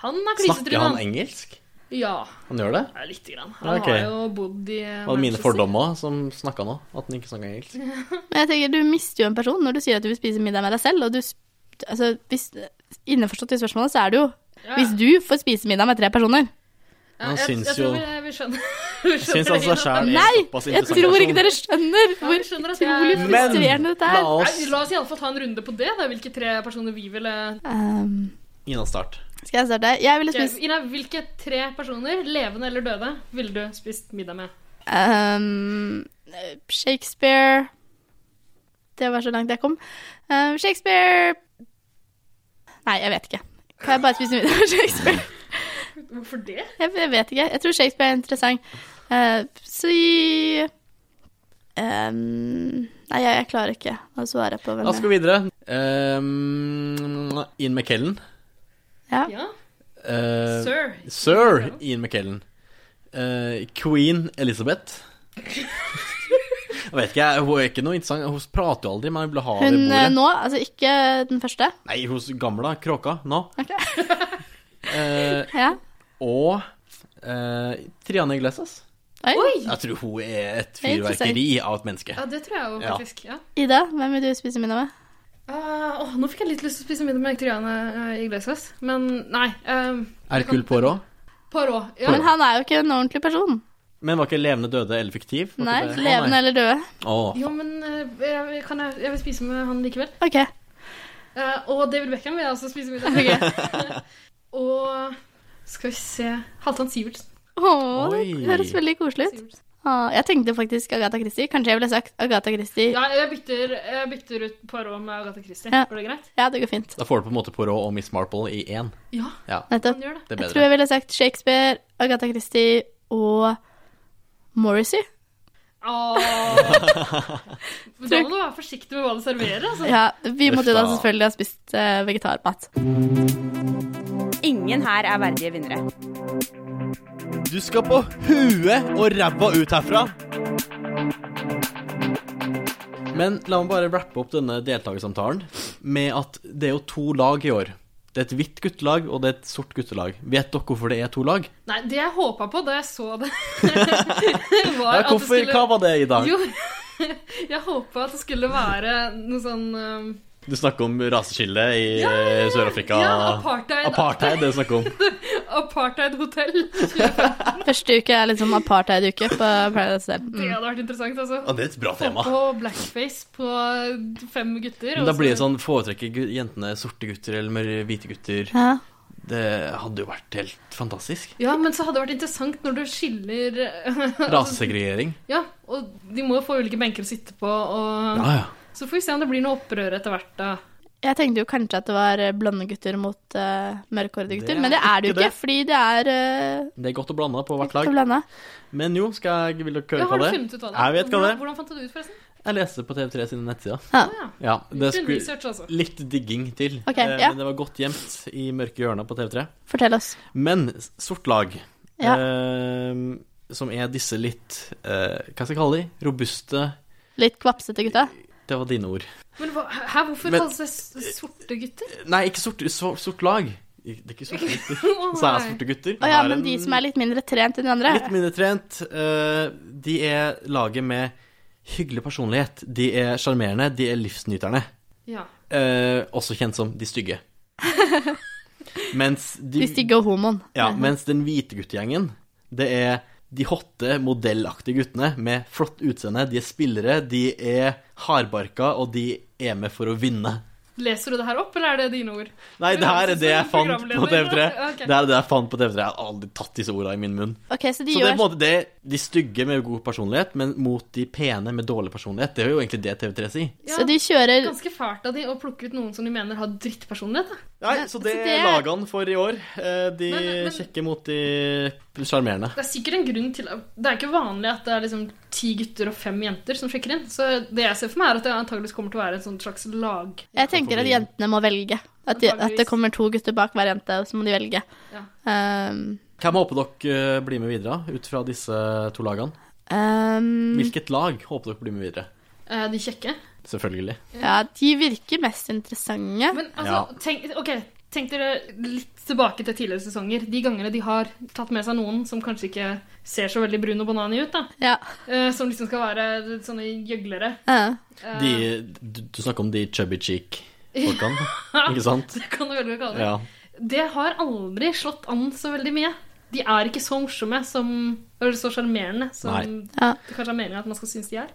Speaker 4: Han er
Speaker 1: Snakker
Speaker 4: krisetryne.
Speaker 1: han engelsk?
Speaker 4: Ja,
Speaker 1: Han gjør det?
Speaker 4: ja, lite grann. Han
Speaker 1: Ja, ok.
Speaker 4: har jo bodd i eh,
Speaker 1: Det var mine
Speaker 4: Manchester.
Speaker 1: fordommer som snakka nå, at han ikke snakka engelsk.
Speaker 2: Men jeg tenker, du mister jo en person når du sier at du vil spise middag med deg selv. Og du, sp- altså, hvis, innenforstått i spørsmålet, så er det jo Hvis du får spise middag med tre personer
Speaker 4: Ja,
Speaker 1: Han
Speaker 4: jeg,
Speaker 1: syns
Speaker 4: jeg
Speaker 1: jo-
Speaker 4: tror vi- vi skjønner. vi
Speaker 1: Syns
Speaker 4: skjønner
Speaker 1: altså
Speaker 4: at-
Speaker 1: selv-
Speaker 2: Nei!
Speaker 1: såpass
Speaker 2: Jeg
Speaker 1: interessant
Speaker 2: tror
Speaker 1: person.
Speaker 2: ikke dere skjønner
Speaker 4: Ja,
Speaker 2: hvor
Speaker 4: vi skjønner at jeg-
Speaker 2: utrolig
Speaker 1: Men-
Speaker 2: frustrerende dette er.
Speaker 1: La oss
Speaker 4: Nei, La oss iallfall ta en runde på det, da. Hvilke tre personer vi ville
Speaker 2: Ehm,
Speaker 1: Ina start.
Speaker 2: skal jeg starte? Jeg ville
Speaker 4: Ok,
Speaker 2: spist
Speaker 4: Ina, hvilke tre personer, levende eller døde, ville du spist middag med?
Speaker 2: ehm, Shakespeare Det var så langt jeg kom. Ehm, Shakespeare Nei, jeg vet ikke. Kan jeg bare spise middag med Shakespeare?
Speaker 4: Hvorfor det?
Speaker 2: Jeg, jeg vet ikke. Jeg tror Shakespeare er interessant. Eh, så ehm, Nei, jeg, jeg klarer ikke å svare på hvem
Speaker 1: La oss gå
Speaker 2: jeg
Speaker 1: videre. Um, Ian McKellen.
Speaker 2: Ja.
Speaker 4: Ja,
Speaker 1: Eh,
Speaker 4: Sir.
Speaker 1: Sir Ian McKellen. Eh, Queen Elizabeth. Jeg vet ikke, jeg- hun er ikke noe interessant. Hun prater jo aldri, men hun vil ha det
Speaker 2: Hun eh,
Speaker 1: bordet.
Speaker 2: nå, altså ikke den første.
Speaker 1: Nei, hun gamle kråka nå.
Speaker 2: Ok.
Speaker 1: Eh,
Speaker 2: Ja.
Speaker 1: og eh, Triana Iglesias.
Speaker 2: Oi.
Speaker 1: Jeg tror hun er et
Speaker 2: er interessant.
Speaker 1: fyrverkeri av et menneske.
Speaker 4: ja det tror jeg jo,
Speaker 1: Ja.
Speaker 4: faktisk. Ja.
Speaker 2: Ida, hvem vil du spise middag med?
Speaker 4: Ah, åh, nå fikk jeg litt lyst til å spise middag med Triana uh, Iglesias, men nei. Uh,
Speaker 1: Hercule Poirot.
Speaker 4: Poirot. Ja.
Speaker 2: Men han er jo ikke en ordentlig person.
Speaker 1: Men var ikke levende døde eller fiktiv? Var ikke
Speaker 2: Nei,
Speaker 1: det- Å,
Speaker 2: Levende eller døde.
Speaker 1: Å,
Speaker 4: Jo, men eh, jeg, kan jeg, jeg vil spise med han likevel.
Speaker 2: OK.
Speaker 4: Eh, og David Beckham vil jeg også spise middag med. og skal vi se Halvdan Sivertsen.
Speaker 2: Å, det
Speaker 1: Oi.
Speaker 2: høres veldig koselig ut. Å, jeg tenkte faktisk Agatha Christie. Kanskje jeg ville sagt Agatha Christie.
Speaker 4: Ja, jeg bytter, jeg bytter ut Poirot med Agatha Christie.
Speaker 2: Ja.
Speaker 4: Var det greit?
Speaker 2: Ja, det går fint.
Speaker 1: Da får du på en måte Poirot og Miss Marple i én.
Speaker 4: Ja,
Speaker 1: Ja,
Speaker 2: Nettopp.
Speaker 4: han gjør det.
Speaker 1: det er
Speaker 2: Jeg
Speaker 1: bedre.
Speaker 2: tror jeg ville sagt Shakespeare, Agatha Christie og Morrissey.
Speaker 4: Åh. Men da må du være forsiktig med hva du serverer. Altså.
Speaker 2: Ja, vi måtte jo da
Speaker 1: Uff da.
Speaker 2: selvfølgelig ha spist eh, vegetarmat.
Speaker 3: Ingen her er verdige vinnere.
Speaker 1: Du skal på huet og ræva ut herfra. Men la meg bare rappe opp denne deltakersamtalen med at det er jo to lag i år. Det er et hvitt guttelag og det er et sort guttelag. Vet dere hvorfor det er to lag?
Speaker 4: Nei, det jeg håpa på da jeg så det,
Speaker 1: Ja,
Speaker 4: var at det
Speaker 1: hvorfor,
Speaker 4: skulle
Speaker 1: Hva var det i dag?
Speaker 4: Jo, jeg håpa at det skulle være noe sånn um,
Speaker 1: Du snakker om raseskillet i eh, Sør-Afrika.
Speaker 4: Ja, apartheid.
Speaker 1: Apartheid, det er det snakk om.
Speaker 4: apartheid-hotell.
Speaker 2: Første uke er liksom apartheid-uke på Paradise Hotel.
Speaker 4: Det
Speaker 2: Mm.
Speaker 4: hadde vært interessant, altså.
Speaker 1: Ja, det er et bra
Speaker 4: Få
Speaker 1: tema.
Speaker 4: på blackface på fem gutter. altså.
Speaker 1: Men
Speaker 4: og
Speaker 1: da
Speaker 4: så-
Speaker 1: blir det sånn Foretrekker gu- jentene sorte gutter eller mer hvite gutter?
Speaker 2: Ja.
Speaker 1: Det hadde jo vært helt fantastisk.
Speaker 4: Ja, men så hadde det vært interessant når du skiller altså-
Speaker 1: Rasesegregering.
Speaker 4: Ja, og de må jo få ulike benker å sitte på, og
Speaker 1: Ja, ja.
Speaker 4: Så får vi se om det blir noe opprør etter hvert, da.
Speaker 2: Jeg tenkte jo kanskje at det var eh, blonde gutter mot uh,
Speaker 1: Det
Speaker 2: mørkhårede gutter,
Speaker 1: er
Speaker 2: men det er det jo
Speaker 1: ikke
Speaker 2: ikke,
Speaker 1: det.
Speaker 2: fordi det er eh,
Speaker 1: Det er godt å blande på hvert
Speaker 2: litt
Speaker 1: lag.
Speaker 2: blanda.
Speaker 1: Men jo, skal jeg, vil dere
Speaker 4: Ja,
Speaker 1: høre
Speaker 4: har
Speaker 1: hva
Speaker 4: du
Speaker 1: det er?
Speaker 4: funnet ut hva det
Speaker 1: Jeg vet hva det
Speaker 4: Hvordan,
Speaker 1: er.
Speaker 4: hvordan fant du det ut, forresten?
Speaker 1: Jeg leser på TV3 sine nettsider.
Speaker 2: Ja.
Speaker 4: Å ja.
Speaker 1: Ja, det
Speaker 4: Kun
Speaker 1: skulle
Speaker 4: research, altså.
Speaker 1: litt digging til.
Speaker 2: Ok,
Speaker 1: eh,
Speaker 2: ja.
Speaker 1: Men det var godt gjemt i mørke hjørner på TV3.
Speaker 2: Fortell oss.
Speaker 1: Men sort lag,
Speaker 2: Ja.
Speaker 1: eh, som er disse litt eh, Hva skal jeg kalle de? Robuste
Speaker 2: Litt kvapsete gutta.
Speaker 1: Det var dine ord.
Speaker 4: Men hva, hæ, hvorfor
Speaker 1: Men-
Speaker 4: kalles det s- sorte gutter?
Speaker 1: Nei, ikke sort, så, sort lag. Det er ikke sorte gutter.
Speaker 4: Å,
Speaker 1: Så er
Speaker 4: nei.
Speaker 1: sorte gutter.
Speaker 2: Å ja,
Speaker 1: Her er
Speaker 2: men de
Speaker 1: en-
Speaker 2: som er litt mindre trent enn de andre.
Speaker 1: Litt mindre trent. eh, De er laget med hyggelig personlighet. De er sjarmerende. De er livsnyterne.
Speaker 4: Ja.
Speaker 1: Eh, også kjent som de stygge. mens, de,
Speaker 2: De stygge og homoen.
Speaker 1: ja, mens den hvite guttegjengen, det er de hotte, modellaktige guttene med flott utseende. De er spillere, de er hardbarka, og de er med for å vinne.
Speaker 4: Leser du det her opp, eller er det dine ord?
Speaker 1: Nei,
Speaker 4: Du
Speaker 1: det her
Speaker 4: høres
Speaker 1: er
Speaker 4: ut
Speaker 1: det jeg
Speaker 4: som en
Speaker 1: fant på
Speaker 4: programleder.
Speaker 1: TV3.
Speaker 4: Ok.
Speaker 1: Det er det jeg fant på TV3. Jeg har aldri tatt disse ordene i min munn.
Speaker 2: Ok, Så de
Speaker 1: Så det er på en
Speaker 2: gjør
Speaker 1: måte det, de stygge med god personlighet, men mot de pene med dårlig personlighet. Det er jo egentlig det TV3 sier.
Speaker 4: Ja,
Speaker 2: Så de kjører
Speaker 4: Ganske fælt av de å plukke ut noen som de mener har drittpersonlighet. da.
Speaker 1: Nei, så det,
Speaker 4: det-
Speaker 1: laget han for i år. Eh, De
Speaker 4: Men- men-
Speaker 1: kjekke mot de sjarmerende.
Speaker 4: Det er sikkert en grunn til Det er ikke vanlig at det er liksom ti gutter og fem jenter som sjekker inn. Så det jeg ser for meg, er at det antageligvis kommer til å være en sånn slags lag.
Speaker 2: Jeg tenker at jentene må velge. At, de, at det kommer to gutter bak hver jente, og så må de velge.
Speaker 4: Ja.
Speaker 2: Um,
Speaker 1: Hvem håper dere eh, blir med videre, ut fra disse to lagene?
Speaker 2: um,
Speaker 1: Hvilket lag håper dere blir med videre?
Speaker 4: Eh, De kjekke.
Speaker 1: Selvfølgelig.
Speaker 2: ja, de virker mest interessante.
Speaker 4: Men altså, tenk, ok, tenk dere litt tilbake til tidligere sesonger. De gangene de har tatt med seg noen som kanskje ikke ser så veldig brun og banani ut, da.
Speaker 2: Ja. Uh,
Speaker 4: Eh, som liksom skal være sånne gjøglere. Eh,
Speaker 1: De, du, du snakker om de chubby cheek-folkene, ikke sant?
Speaker 4: det kan du veldig godt kalle det.
Speaker 1: Ja.
Speaker 4: Det har aldri slått an så veldig mye. De er ikke så morsomme som Eller så sjarmerende som
Speaker 1: Nei.
Speaker 4: det kanskje er meninga at man skal synes de er.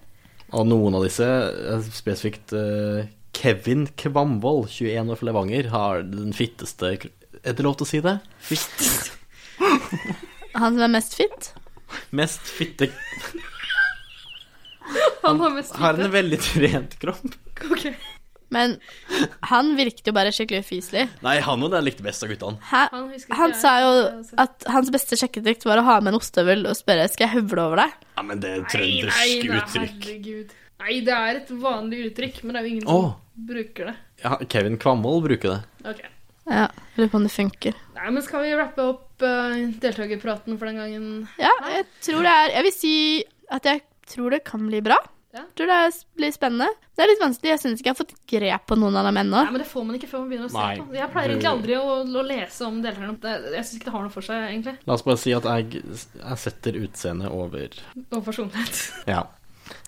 Speaker 1: Og noen av disse, eh, spesifikt eh, Kevin Kvamvold, 21 år fra Levanger, har den fitteste kro- Er det lov til å si det? Fitt.
Speaker 2: Han som er mest fit.
Speaker 1: Mest fitte
Speaker 4: Han har mest
Speaker 1: Har en veldig trent kropp.
Speaker 2: Men han virket jo bare skikkelig ufyselig.
Speaker 1: Nei, han var den jeg likte best av guttene.
Speaker 2: Hæ?
Speaker 4: Han husker ikke
Speaker 2: Han
Speaker 4: jeg. altså.
Speaker 2: sa jo at hans beste sjekketrikt var å ha med en ostehøvel og spørre skal jeg høvle over deg.
Speaker 1: Ja, men det er
Speaker 4: Nei,
Speaker 1: trøndersk
Speaker 4: nei,
Speaker 1: uttrykk.
Speaker 4: herregud. Nei, det er et vanlig uttrykk, men det er jo ingen
Speaker 1: Åh.
Speaker 4: som bruker det.
Speaker 1: Ja, Kevin Kvamvold bruker det.
Speaker 4: Ok.
Speaker 2: Ja, Lurer på om det funker.
Speaker 4: Nei, men skal vi rappe opp eh, deltakerpraten for den gangen?
Speaker 2: Ja, jeg tror det er Jeg vil si at jeg tror det kan bli bra. Tror det blir spennende. Det er litt vanskelig. Jeg syns ikke jeg har fått grep på noen av dem ennå.
Speaker 4: Nei, men det får man ikke før man begynner å se
Speaker 1: Nei,
Speaker 4: på. Jeg pleier
Speaker 1: du-
Speaker 4: egentlig aldri å, å lese om deltakerne. Det- Jeg syns ikke det har noe for seg, egentlig.
Speaker 1: La oss bare si at jeg, jeg setter utseendet over
Speaker 4: Og personlighet.
Speaker 1: Ja.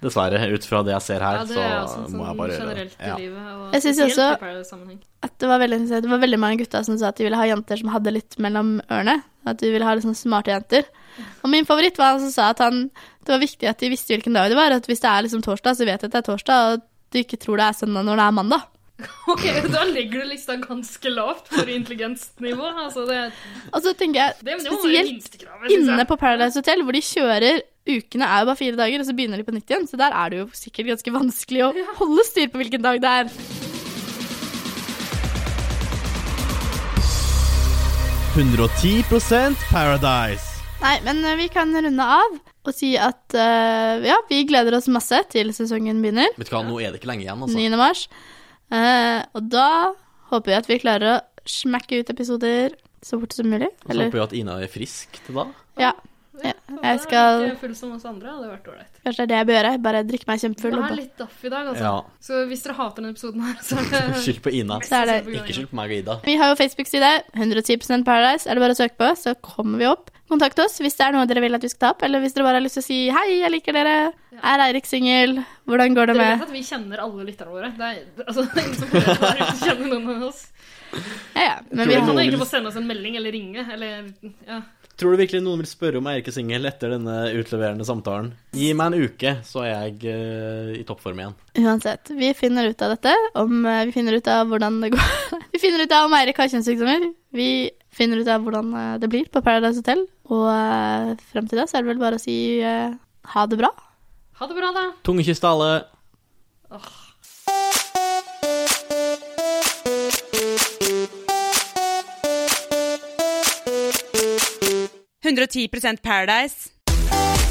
Speaker 1: Dessverre, ut fra det jeg ser her,
Speaker 4: Ja, det
Speaker 1: så
Speaker 4: er også en sånn
Speaker 1: må jeg bare gjøre det.
Speaker 4: generelt i livet. Og
Speaker 2: Jeg synes
Speaker 4: spesielt
Speaker 2: også-
Speaker 4: i Paradise-sammenheng.
Speaker 2: At det var veldig interessant. Det var veldig mange gutter som sa at de ville ha jenter som hadde litt mellom ørene. At de ville ha litt sånn smarte jenter. Og min favoritt var han som sa at han, det var viktig at de visste hvilken dag det var. At hvis det er liksom torsdag, så vet jeg at det er torsdag, og at du ikke tror det er søndag når det er mandag.
Speaker 4: Ok, da legger du lista ganske lavt for intelligensnivå. Altså, det,
Speaker 2: Og så tenker jeg
Speaker 4: det, det må være
Speaker 2: spesielt
Speaker 4: minstekravet, synes jeg.
Speaker 2: inne på Paradise Hotel, hvor de kjører Ukene er jo bare fire dager, og så begynner de på nytt igjen. Så der er det jo sikkert ganske vanskelig å holde styr på hvilken dag det er.
Speaker 13: Paradise.
Speaker 2: Nei, men eh, vi kan runde av og si at eh, ja, vi gleder oss masse til sesongen begynner.
Speaker 1: Vet du hva, nå er det ikke lenge igjen, altså.
Speaker 2: 9. mars. Eh, og da håper vi at vi klarer å smekke ut episoder så fort som mulig.
Speaker 1: Og så håper vi at Ina er frisk til da.
Speaker 2: Ja. ja. Jeg
Speaker 4: Det
Speaker 2: skal
Speaker 4: er ikke full som oss andre, hadde vært ålreit.
Speaker 2: Kanskje det er det jeg bør gjøre. Bare drikke meg
Speaker 4: Det
Speaker 2: kjempefull. og
Speaker 4: er
Speaker 2: bare-
Speaker 4: litt daff i dag, altså.
Speaker 1: Ja.
Speaker 4: Så hvis dere hater denne episoden her, så er det
Speaker 1: Skyld på Ina.
Speaker 2: Så er det-
Speaker 1: Ikke skyld på meg og Ida.
Speaker 2: Vi har jo Facebook-side. 110 Paradise. Er det bare å søke på, så kommer vi opp. Kontakt oss hvis det er noe dere vil at vi skal ta opp, eller hvis dere bare har lyst til å si 'hei, jeg liker dere', er Eirik singel, hvordan går det
Speaker 4: Dere
Speaker 2: med
Speaker 4: vet at vi kjenner alle lytterne våre. Det er, altså, det er ingen som hører på som kjenner noen av oss.
Speaker 1: vi
Speaker 2: Men
Speaker 4: vi
Speaker 1: har-
Speaker 4: kan
Speaker 1: noen
Speaker 4: egentlig
Speaker 1: vil-
Speaker 4: bare sende oss en melding eller ringe, eller ja.
Speaker 1: Tror du virkelig noen vil spørre om jeg er ikke singel etter denne utleverende samtalen? Gi meg en uke, så er jeg eh, i toppform igjen.
Speaker 2: Uansett, vi finner ut av dette. Om eh, vi finner ut av hvordan det går Vi finner ut av om Eirik har kjønnssykdommer. Vi finner ut av hvordan eh, det blir på Paradise Hotel. Og eh, frem til da så er det vel bare å si eh, ha det bra.
Speaker 4: Ha det bra, da.
Speaker 1: Tungekyss til alle.
Speaker 3: Paradise.